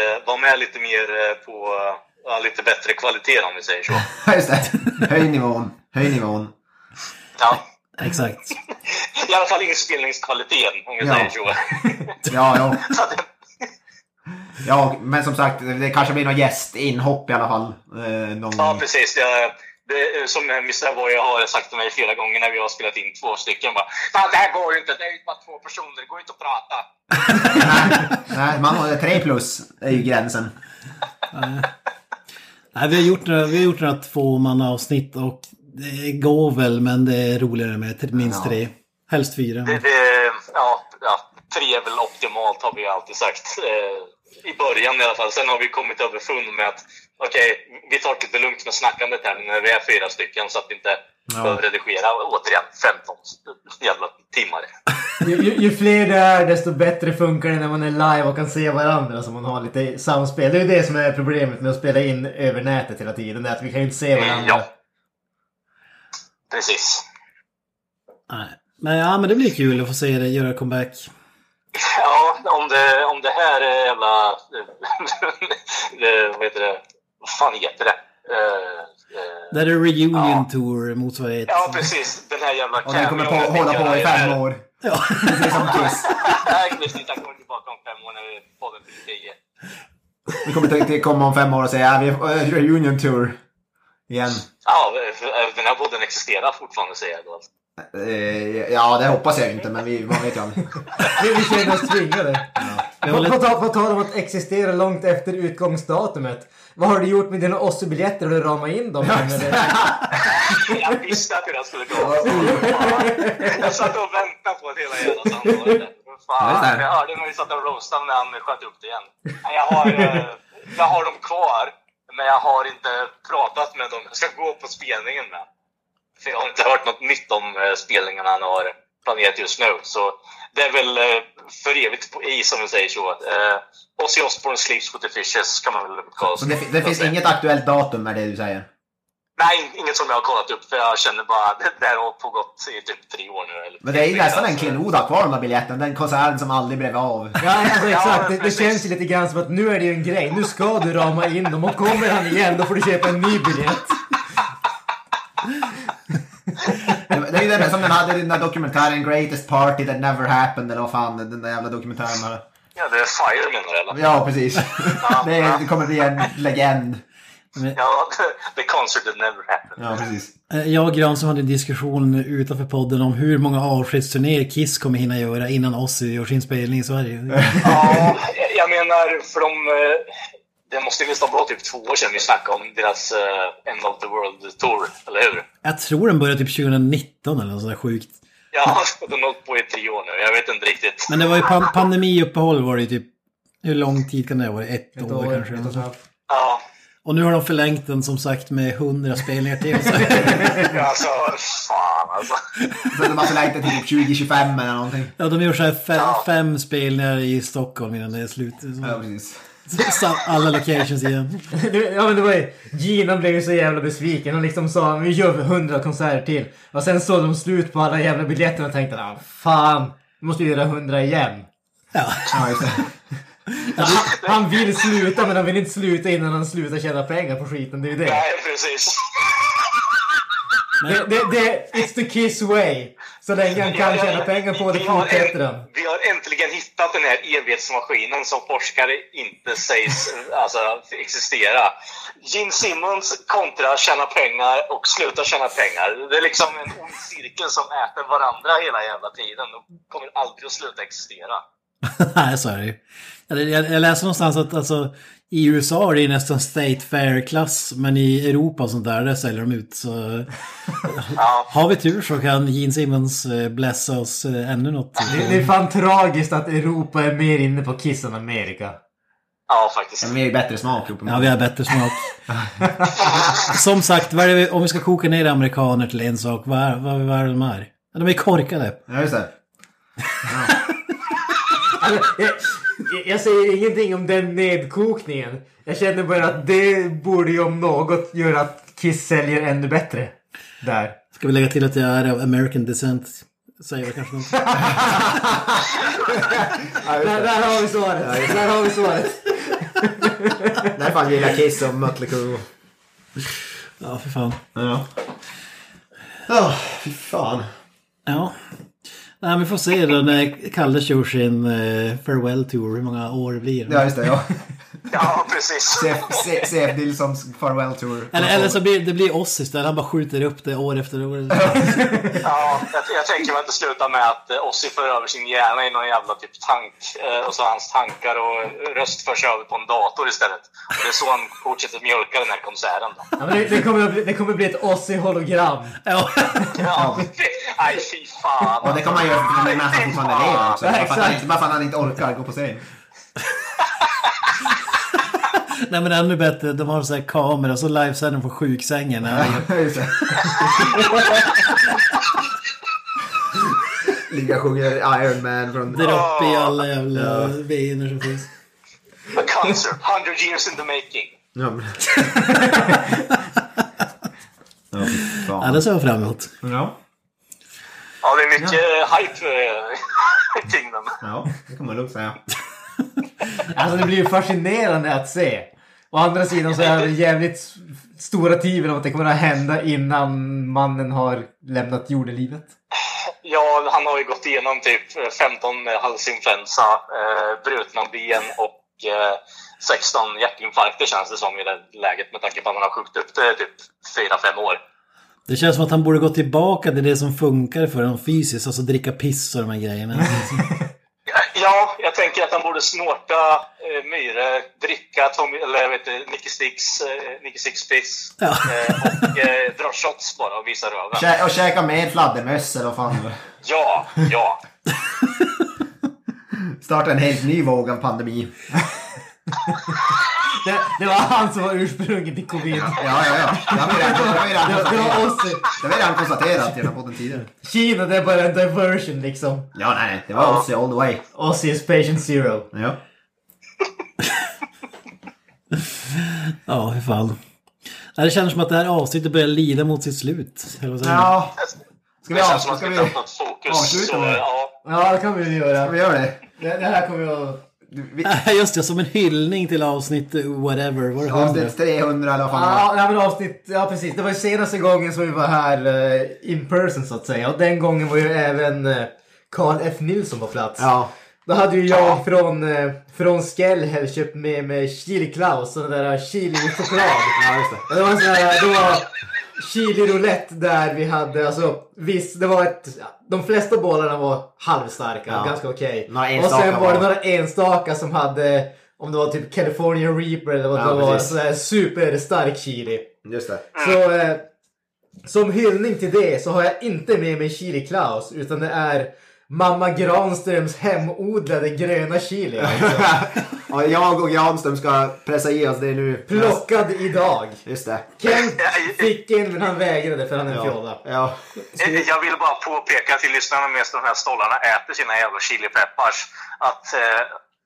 Speaker 4: eh, vara med lite mer eh, på eh, ja, lite bättre kvalitet om vi säger så.
Speaker 1: Ja, Just det. Höj nivån. Höj nivån.
Speaker 4: Ja.
Speaker 3: Exakt.
Speaker 4: I alla fall inspelningskvaliteten om vi
Speaker 1: Ja.
Speaker 4: säger så.
Speaker 1: Ja, ja.
Speaker 4: så att,
Speaker 1: Ja, men som sagt, det kanske blir någon gästinhopp i alla fall. Eh, någon...
Speaker 4: Ja, precis. Jag, det, som Mr. Boy har sagt till mig flera gånger när vi har spelat in två stycken. Bara, Fan, det här går ju inte. Det är ju bara två personer. Det går ju inte att prata.
Speaker 1: Nej, man har tre plus är ju gränsen.
Speaker 3: Nej, vi har gjort några, vi har gjort några tvåmannaavsnitt och det går väl men det är roligare med t- minst
Speaker 1: Ja.
Speaker 3: tre. Helst fyra.
Speaker 4: Det, det, ja, ja, tre är väl optimalt har vi ju alltid sagt. Eh, I början i alla fall. Sen har vi kommit överfund med att okej, vi tar det lite lugnt med snackandet här nu när vi är fyra stycken så att vi inte behöver redigera återigen 15 jävla timmar.
Speaker 2: Ju, ju, ju fler det är desto bättre funkar det när man är live och kan se varandra så man har lite samspel. Det är ju det som är problemet med att spela in över nätet hela tiden. Det är att vi kan ju inte
Speaker 1: Eh,
Speaker 2: se varandra.
Speaker 4: Ja. Precis.
Speaker 3: Nej. Men, ja, men det blir kul att få se dig göra comeback.
Speaker 4: Ja, om det, om det här är jävla... eh, det, vad heter det? Vad fan heter det? Eh, eh,
Speaker 3: Det här är reunion
Speaker 4: Ja.
Speaker 3: tour motsvarighet.
Speaker 4: ja, precis. Den här jävla
Speaker 1: Och den kommer på, hålla på i fem år.
Speaker 3: Ja.
Speaker 1: Det är som Kiss.
Speaker 4: Nej, precis. Den kommer tillbaka om fem år när podden fyller tio.
Speaker 1: Vi kommer inte till komma om fem år och säga ja, vi har eh, reunion tour. Igen.
Speaker 4: Ja, för- den här podden existerar fortfarande säger jag då.
Speaker 1: Eh, ja, det hoppas jag inte, men vi, man vet ju aldrig.
Speaker 2: Vi, vi känner oss tvingade.
Speaker 3: Jag var
Speaker 2: På, på,
Speaker 3: lite-
Speaker 2: tal- på tal om att existera långt efter utgångsdatumet. Vad har du gjort med dina Ossi-biljetter? Har du ramat in dem? Eller?
Speaker 4: Jag visste att det där skulle gå. Jag satt och väntade på det hela jävla samtalet.
Speaker 1: Ja, det är
Speaker 4: Fan,
Speaker 1: det.
Speaker 4: jag hörde när vi satt och roastade när han sköt upp det igen. Nej, Jag har, eh, jag har dem kvar, men jag har inte pratat med dem. Jag ska gå på spelningen med. För jag har inte hört något nytt om eh, spelningarna han har planerat just nu. Så det är väl eh, för evigt på is om vi säger så. Eh, Ozzy Osbourne Sleeps with the Fishes kan man väl kalla
Speaker 1: Så det, fi- det finns inget aktuellt datum med det du säger?
Speaker 4: Nej, in- inget som jag har kollat upp för jag känner bara det där har pågått i typ tre år nu. Eller
Speaker 1: Men det är ju nästan en
Speaker 4: Alltså,
Speaker 1: klenoda kvar den där biljetten. Den konserten som aldrig blev av.
Speaker 2: Ja, alltså
Speaker 4: Ja,
Speaker 2: exakt.
Speaker 4: men
Speaker 2: Det, det
Speaker 4: precis.
Speaker 2: känns ju lite grann som att nu är det ju en grej. Nu ska du rama in dem och kommer han igen då får du köpa en ny biljett.
Speaker 1: Det är ju det som den hade i den där dokumentären Greatest Party That Never Happened eller vad fan den där jävla dokumentären var.
Speaker 4: Ja, det är Fire menar du eller?
Speaker 1: Ja, precis. Det, är, det kommer bli en legend.
Speaker 4: Ja, the concert that never happened.
Speaker 1: Ja, precis.
Speaker 3: Eh, Jag och Granström hade en diskussion utanför podden om hur många avskedsturnéer Kiss kommer hinna göra innan Ozzy gör sin spelning i Sverige.
Speaker 4: Ja, jag menar för de... eh, Det måste ju nästan vara typ två år sedan vi snackade om deras eh, End of the World Tour, eller hur?
Speaker 3: Jag tror den börjar typ 2019 eller något sånt där sjukt.
Speaker 4: Ja, de har hållit på i tre år nu. Jag vet inte riktigt.
Speaker 3: Men det var ju pan- pandemiuppehåll var det ju typ. Hur lång tid kan det ha varit? Ett,
Speaker 2: Ett
Speaker 3: år,
Speaker 2: år,
Speaker 3: kanske.
Speaker 2: ett och ett halvt.
Speaker 4: Ja,
Speaker 3: och nu har de förlängt den som sagt med 100 spelningar till. Så.
Speaker 4: alltså fan alltså.
Speaker 1: Så de har förlängt det till typ 2025 eller någonting.
Speaker 3: Ja, de gör så här fem,
Speaker 4: Ja.
Speaker 3: fem spelningar i Stockholm innan det är slut.
Speaker 1: Ja,
Speaker 3: Så,
Speaker 1: precis.
Speaker 3: så alla locations igen.
Speaker 2: Det- Ja men det var ju, Gina blev ju så jävla besviken. Han liksom sa vi gör hundra konserter till. Och sen såg de slut på alla jävla biljetterna och tänkte ah, fan, nu måste vi göra hundra igen.
Speaker 3: Ja.
Speaker 1: Ja, just det.
Speaker 2: Han vill sluta men han vill inte sluta innan han slutar tjäna pengar på skiten. Det är ju det.
Speaker 4: Nej, precis.
Speaker 2: Det, det, det it's the kiss way. Så länge han kan tjäna pengar på det
Speaker 4: Vi har
Speaker 2: fortsätter han.
Speaker 4: änt- Vi har äntligen hittat den här evighetsmaskinen som forskare inte sägs alltså, existera. Gene Simmons kontra tjäna pengar och sluta tjäna pengar. Det är liksom en ond cirkel som äter varandra hela jävla tiden. De kommer aldrig att sluta existera.
Speaker 3: Nej, så är det ju. Jag- Jag, jag läser någonstans att alltså, i USA är det ju nästan State Fair-klass, men i Europa och sånt där, där säljer de ut. Så
Speaker 4: Ja,
Speaker 3: har vi tur så kan Gene Simmons eh, blessa oss eh, ännu något.
Speaker 2: Det, det är fan tragiskt att Europa är mer inne på Kiss än Amerika.
Speaker 4: ja faktiskt.
Speaker 1: Ja, men vi har ju bättre smak
Speaker 3: Ja,
Speaker 1: uppenbarligen.
Speaker 3: vi har bättre smak. Som sagt, vad är det, vi- om vi ska koka ner amerikaner till en sak, vad är, vad, vad är de här? Ja, De är korkade.
Speaker 1: Ja, just det.
Speaker 2: Alltså, jag, jag- jag säger ingenting om den nedkokningen. Jag känner bara att det borde ju om något göra att Kiss säljer ännu bättre. Där.
Speaker 3: Ska vi lägga till att jag är av American descent? Säger väl kanske något.
Speaker 2: Där, där har vi svaret. Där har vi svaret.
Speaker 1: Därför gillar jag Kiss och Mötley Crüe.
Speaker 3: Ja, för fan.
Speaker 1: Ja. Åh, fy fan.
Speaker 3: Ja. Nej, vi får se då när Kalle kör sin eh, farewell tour, hur många år det blir.
Speaker 1: Ja, just det. Ja.
Speaker 4: Ja, precis.
Speaker 1: CF, C- CF Nilssons farewell tour.
Speaker 3: Eller, eller så blir det blir oss istället, han bara skjuter upp det år efter år.
Speaker 4: Ja, jag, jag tänker mig att det slutar med att eh, Ossi för över sin hjärna i någon jävla typ tank. eh, Och så hans tankar och eh, röst förs över på en dator istället. Och det är så han fortsätter mjölka den här konserten. Då.
Speaker 2: Ja, men det, det, kommer att bli, det kommer att bli ett Ozzy-hologram.
Speaker 3: Ja.
Speaker 4: Ja, nej fy fan.
Speaker 1: Och det kan man göra för att han fortfarande lever också.
Speaker 2: Ja,
Speaker 1: Bara för att han
Speaker 2: exakt.
Speaker 1: inte- bara för att han inte orkar gå på scen.
Speaker 3: Nej men ännu bättre, de har så här kamera och så livesänder på sjuksängen. När
Speaker 1: Ja, just det. Ligga och sjunger Iron Man från...
Speaker 3: det är uppe i alla jävla vener som finns.
Speaker 4: A concert, 100 years in the making.
Speaker 1: Ja, men- Ja, fy fan.
Speaker 3: Ja, det ser jag fram emot.
Speaker 1: Ja,
Speaker 4: Ja, det är mycket eh, hype eh, kring den.
Speaker 1: ja, det kan man lugnt säga.
Speaker 2: Alltså det blir ju fascinerande att se. Å andra sidan så är det jävligt s- stora tvivel om att det kommer att hända innan mannen har lämnat jordelivet.
Speaker 4: Ja, han har ju gått igenom typ 15 halsinfluensa, eh, brutna ben och eh, 16 hjärtinfarkter känns det som i det läget med tanke på att han har skjutit upp det i typ 4-5 år.
Speaker 3: Det känns som att han borde gå tillbaka till det som funkar för honom fysiskt, alltså dricka piss och de här grejerna.
Speaker 4: Ja, jag tänker att han borde snorta eh, Myre, dricka Tommy, eller jag vet inte, Nicky Sticks, eh, Nicky Sticks piss
Speaker 3: Ja.
Speaker 4: eh, och eh, dra shots bara och visa röven.
Speaker 1: Kä- och käka mer fladdermöss eller vad fan. det var.
Speaker 4: Ja, ja.
Speaker 1: Starta en helt ny våg av pandemi.
Speaker 2: Det, det var han som var ursprunget till covid.
Speaker 1: Ja, ja, ja. Det har vi redan- det har vi redan
Speaker 2: Det, det var
Speaker 1: konstaterat.
Speaker 2: Ozzy.
Speaker 1: Det har vi redan konstaterat i den här podden tidigare.
Speaker 2: Kina det är bara en diversion liksom.
Speaker 1: Ja, nej, det var Ozzy all the way.
Speaker 2: Ozzy is patient zero.
Speaker 1: Ja.
Speaker 3: Ja, hur fan. Nej, Nej, Det känns som att det här avsnittet börjar lida mot sitt slut. eller vad säger ni?
Speaker 1: Ja, ska vi,
Speaker 4: Det
Speaker 1: av,
Speaker 4: känns som att vi
Speaker 1: ska vi,
Speaker 4: inte har något fokus.
Speaker 1: avsluta
Speaker 4: Så,
Speaker 1: med det?
Speaker 4: ja,
Speaker 2: Ja, det kan vi
Speaker 1: ska vi
Speaker 2: göra.
Speaker 1: göra det?
Speaker 2: Det, det här kommer ju att...
Speaker 1: Vi,
Speaker 3: Just det, som en hyllning till avsnitt whatever. Var det 100?
Speaker 1: avsnitt 300 eller vad fan det var.
Speaker 2: Ja, nej, men avsnitt, ja precis. Det var ju senaste gången som vi var här eh, in person så att säga. Och den gången var ju även eh, Carl F. Nilsson på plats.
Speaker 1: Ja.
Speaker 2: Då hade ju jag från, eh, från Skellhäll köpt med mig Chili Klaus, sån där chili-choklad.
Speaker 1: ja, just det.
Speaker 2: Och Det var en sån här, det var chili roulette där vi hade, alltså visst, det var ett, de flesta bollarna var halvstarka,
Speaker 1: Ja.
Speaker 2: ganska okej. Och
Speaker 1: Några enstaka
Speaker 2: sen var det
Speaker 1: var-
Speaker 2: några enstaka som hade, om det var typ California Reaper eller vad
Speaker 1: Ja,
Speaker 2: det var,
Speaker 1: precis.
Speaker 2: så här superstark chili.
Speaker 1: Just det.
Speaker 2: Så eh, som hyllning till det så har jag inte med mig chili Klaus, utan det är Mamma Granströms hemodlade gröna chili. Alltså.
Speaker 1: Ja, jag och Granström ska pressa i oss det nu.
Speaker 2: Plockad idag.
Speaker 1: Just det.
Speaker 2: Kent fick en men han vägrade för han är en fjolla.
Speaker 1: Ja.
Speaker 4: Eh, Jag vill bara påpeka till lyssnarna medan de här stollarna äter sina jävla chilipeppars att eh,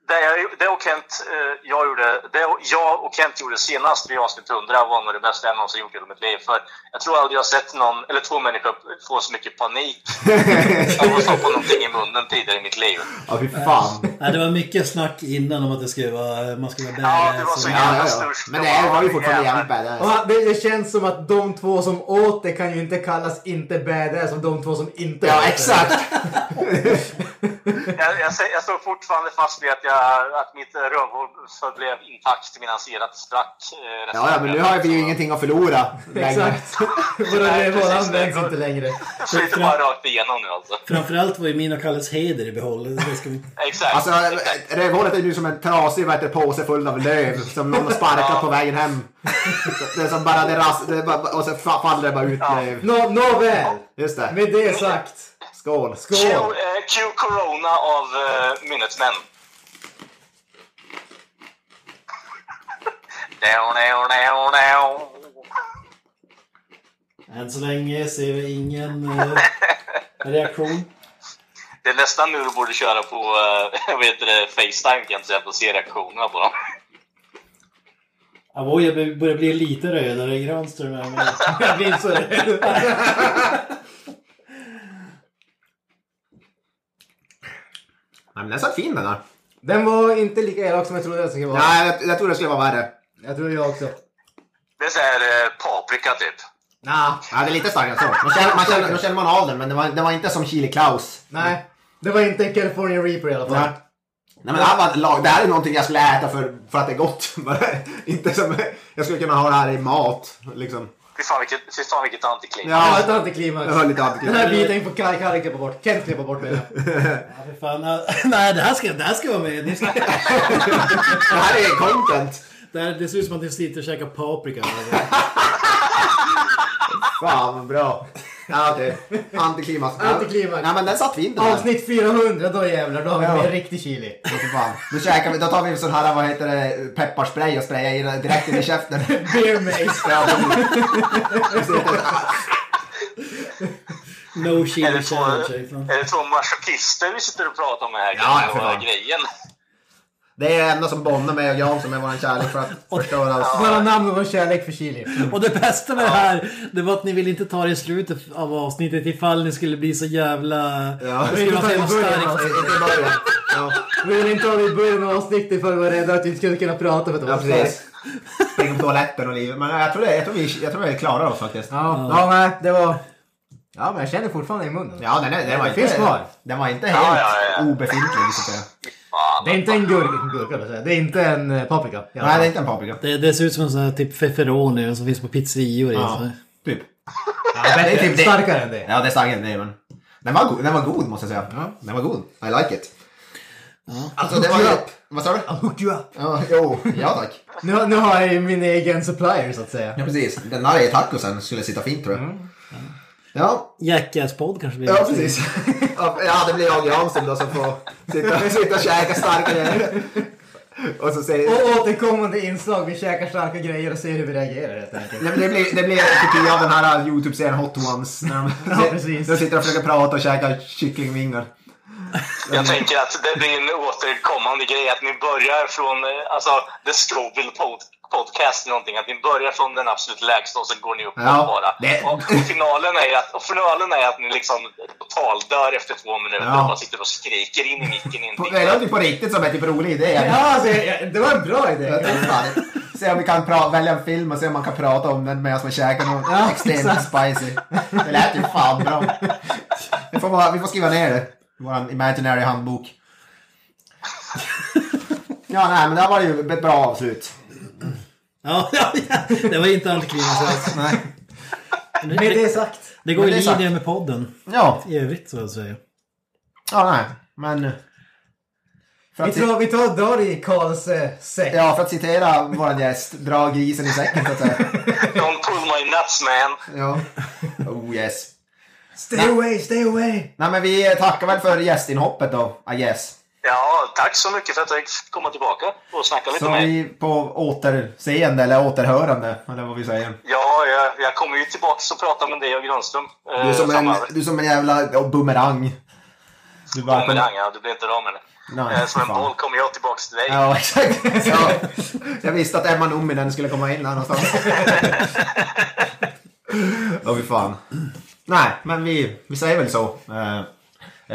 Speaker 4: det, jag, det, och Kent, eh, jag, gjorde, det och- jag och Kent gjorde senast vid avsnitt 100 var nog det bästa jag någonsin gjort i hela mitt liv. För jag tror aldrig jag har sett någon, eller två människor få så mycket panik av att stoppa någonting i munnen tidigare i mitt liv.
Speaker 1: Ja, fy fan.
Speaker 3: Nej, det var mycket snack innan om att det skulle vara, man skulle vara
Speaker 4: Ja, det var
Speaker 3: badass
Speaker 4: så
Speaker 3: och-
Speaker 1: Ja, ja, ja. Men det här var ju fortfarande jävligt
Speaker 2: Och
Speaker 1: badass.
Speaker 2: han- det, det känns som att de två som åt det kan ju inte kallas inte badass som de två som inte åt
Speaker 1: Ja,
Speaker 2: det.
Speaker 1: exakt.
Speaker 4: Jag, jag, sä- jag står fortfarande fast vid att, jag, att mitt rövhål förblev intakt medan erat sprack. eh, resten
Speaker 1: Ja, ja,
Speaker 4: av
Speaker 1: men nu
Speaker 4: kvällen.
Speaker 1: har vi ju ingenting att förlora. längre.
Speaker 2: Exakt. Våra
Speaker 4: Nej,
Speaker 2: rövhål
Speaker 4: precis.
Speaker 2: används inte längre.
Speaker 4: Jag sliter bara rakt igenom nu alltså.
Speaker 3: Framförallt var ju min och Kalles heder i behåll. Det ska vi...
Speaker 4: Exakt.
Speaker 1: Alltså, rövhålet är ju som en trasig vad heter, påse full av löv som någon har sparkat på vägen hem. Det är som bara, det ras, det är bara, och så fa- faller det bara ut löv.
Speaker 2: Nå, nåväl.
Speaker 1: Just det.
Speaker 2: Med det sagt.
Speaker 1: Skål.
Speaker 4: Q,
Speaker 2: Skål.
Speaker 4: eh, Q Corona av eh, Minutemen. Down, down, down, down.
Speaker 3: Än så länge ser vi ingen eh, reaktion.
Speaker 4: Det är nästan nu du borde köra på eh, vad heter det, Facetime kan jag säga, för att se reaktionerna på dem.
Speaker 3: Avoya börjar bli lite rödare i Granström. här, Men...
Speaker 2: Jag blir så rädd.
Speaker 1: Nej, men den satt fin den här.
Speaker 2: Den var inte lika elak som jag trodde den skulle vara.
Speaker 1: Nej, jag, jag tror det skulle vara värre.
Speaker 2: Jag tror jag också.
Speaker 4: Det är såhär eh, paprika typ.
Speaker 2: Nah,
Speaker 1: Ja, det är lite starkare än så. Man känner, man känner, då känner man av den, men det var, det var inte som Chili Klaus.
Speaker 2: nej. Det var inte en California Reaper i alla fall.
Speaker 1: Nej. Nej, men det, här var, lag- det här är någonting jag skulle äta för, för att det är gott. inte som, jag skulle kunna ha det här i mat. Liksom.
Speaker 4: Fy fan vilket, fy fan, vilket antiklimax.
Speaker 2: Ja, ett
Speaker 1: Ja,
Speaker 2: antiklimax.
Speaker 1: jag höll lite
Speaker 2: Den
Speaker 1: antiklimax.
Speaker 2: här biten får Kalle Kalle klippa bort. Kent klippa bort menar jag.
Speaker 3: Ja, för fan. ja, Nej, det här ska, det här ska vara med. Ni ska...
Speaker 1: Det här är content.
Speaker 3: Det, här, det ser ut som att ni sitter och käkar paprika.
Speaker 1: Fan vad bra. Ja, okej. Antiklimax.
Speaker 2: Antiklimax.
Speaker 1: Nej, men den satt fint den här.
Speaker 2: Avsnitt 400, då jävlar. Då har vi
Speaker 1: Ja.
Speaker 2: med riktig chili.
Speaker 1: Fy fan. Då käkar vi, då tar vi sån här, vad heter det, pepparspray och sprayar i den direkt in i käften.
Speaker 2: Beer mace.
Speaker 1: Ja, precis.
Speaker 3: No
Speaker 4: Är
Speaker 3: chili
Speaker 4: det, två,
Speaker 3: challenge. liksom. fan.
Speaker 4: är det två masochister vi sitter och pratar om här?
Speaker 1: Ja, för
Speaker 4: Vad är
Speaker 1: fan.
Speaker 4: grejen.
Speaker 1: det är det enda som bondar mig och Jan som är våran kärlek för att förstöra oss.
Speaker 2: Bara namn och vår kärlek för chili.
Speaker 3: Och det bästa med det här, det var att ni ville inte ta det i slutet av avsnittet ifall ni skulle bli så jävla...
Speaker 1: Ja.
Speaker 3: Det skulle vara så jävla starkt.
Speaker 1: Inte i alltså. början. Ja.
Speaker 2: Vi ville inte ha det i början av avsnittet för vi var rädda att vi inte skulle kunna prata för att det
Speaker 1: Ja,
Speaker 2: var
Speaker 1: precis. Springa på toaletten och livet. Men jag tror, det, jag, tror vi, jag tror vi klarar oss faktiskt.
Speaker 2: Ja, ja, nej, det var... Ja, men jag känner fortfarande i munnen.
Speaker 1: Ja, den, är, den var
Speaker 2: Det
Speaker 1: inte...
Speaker 2: finns kvar.
Speaker 1: Den var inte helt
Speaker 4: Ja, ja, ja.
Speaker 1: obefintlig. liksom. Så att säga.
Speaker 4: Fan.
Speaker 2: Det är inte en gurka, gurka vill jag säga. Det är inte en eh, paprika. Ja.
Speaker 1: Nej, det är inte en paprika.
Speaker 3: Det, det ser ut som en sån här typ feferoni som finns på pizzerior. Ja.
Speaker 1: Ja, typ.
Speaker 2: Ja, bättre,
Speaker 1: det är typ det.
Speaker 2: Starkare än det.
Speaker 1: Ja, det är starkare än det, men... Den var, go- den var god, måste jag säga. Ja, den var god. I like it. Alltså, det var ju... Vad sa du?
Speaker 2: I hooked you up.
Speaker 1: Ja, jo, ja tack.
Speaker 2: Nu, har- nu har jag ju min egen supplier så att säga.
Speaker 1: Ja, precis. Den här i tacosen skulle sitta fint, tror jag. Ja,
Speaker 3: Jackass-podd kanske blir
Speaker 1: Ja,
Speaker 3: nästa
Speaker 1: precis. ja, det blir jag Jansson då som får sitta, sitta och käka starka grejer. Och så säger...
Speaker 2: Och återkommande inslag, vi käkar starka grejer och ser hur vi reagerar helt enkelt.
Speaker 1: Det det blir, det blir en kopia av den här äh, YouTube-serien Hot Ones. När de,
Speaker 2: Ja, precis.
Speaker 1: de sitter och försöker prata och käka kycklingvingar.
Speaker 4: Jag tänker att det blir en återkommande grej att ni börjar från eh, alltså, The Scoville Pod- podcast eller någonting, att ni börjar från den absolut lägsta och så går ni upp
Speaker 1: Ja,
Speaker 4: bara.
Speaker 1: det-
Speaker 4: Och finalen är att, och finalen är att ni liksom totaldör efter två minuter
Speaker 1: Ja.
Speaker 4: och bara sitter och skriker in i micken. In
Speaker 1: På-
Speaker 4: i
Speaker 1: Det låter ju på riktigt som en typ rolig idé.
Speaker 2: Ja, alltså, jag- jag- det var en bra
Speaker 1: Jag
Speaker 2: idé.
Speaker 1: testar. Se om vi kan pra- välja en film och se om man kan prata om den medan man käkar något
Speaker 2: Ja,
Speaker 1: extremt
Speaker 2: exakt.
Speaker 1: spicy. Det lät ju fan bra. Vi får, bara, vi får skriva ner det i vår imaginary handbok. Ja, nej, men det här var ju ett bra avslut.
Speaker 3: Ja, ja, ja. det var inte antiklimax.
Speaker 1: Nej.
Speaker 3: Det,
Speaker 2: Med det
Speaker 3: det,
Speaker 2: sagt.
Speaker 3: det går
Speaker 1: Men
Speaker 3: i
Speaker 1: det är sant.
Speaker 3: linje med podden
Speaker 1: Ja,
Speaker 3: i övrigt så att säga.
Speaker 1: ja, nej, men... För
Speaker 2: Vi
Speaker 1: att,
Speaker 2: tar, vi tar Dari Karlse säck.
Speaker 1: ja, för att citera vår gäst, dra grisen i säcken så att säga.
Speaker 4: Don't pull my nuts man.
Speaker 1: Ja. Oh yes.
Speaker 2: Stay away, stay away!
Speaker 1: Nej, men vi tackar väl för gästinhoppet då, I guess.
Speaker 4: Ja, tack så mycket för att jag fick komma tillbaka och snacka lite
Speaker 1: Så
Speaker 4: med er.
Speaker 1: vi på återseende eller återhörande eller vad vi säger.
Speaker 4: Ja, jag, jag kommer ju tillbaka och prata med dig och Granström. eh,
Speaker 1: Du är som en,
Speaker 4: framöver.
Speaker 1: du är som en jävla ja, bumerang. Du bara
Speaker 4: Kommer det, ja, du blir inte av med det.
Speaker 1: Nej,
Speaker 4: Eh, Som en
Speaker 1: fan.
Speaker 4: boll kommer jag tillbaka till dig.
Speaker 1: Ja, exakt. Ja. Jag visste att Emma Nominen skulle komma in där någonstans. Åh fy fan. Nej, men vi, vi säger väl så. Eh,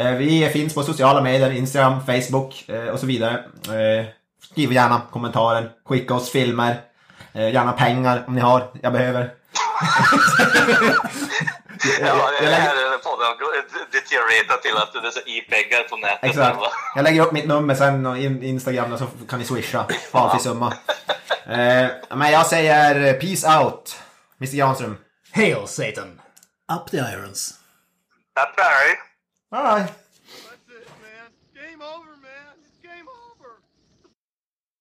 Speaker 1: eh, Vi finns på sociala medier, Instagram, Facebook eh, och så vidare. Eh, Skriv gärna kommentarer, skicka oss filmer, eh, gärna pengar om ni har. Jag behöver. Jag- jag-
Speaker 4: Ja,
Speaker 1: jag
Speaker 4: den
Speaker 1: lägger-
Speaker 4: här podden har deteriorat till att det är så e-pengar på nätet.
Speaker 1: Exakt.
Speaker 4: Va?
Speaker 1: Jag lägger upp mitt nummer sen och in- Instagram och så kan ni swisha. Valfri summa. Eh, men jag säger peace out. Mr Granström.
Speaker 2: Hail Satan!
Speaker 3: Up the irons.
Speaker 4: Tack, Barry.
Speaker 1: Bye.
Speaker 6: That's it, man. Game over, man.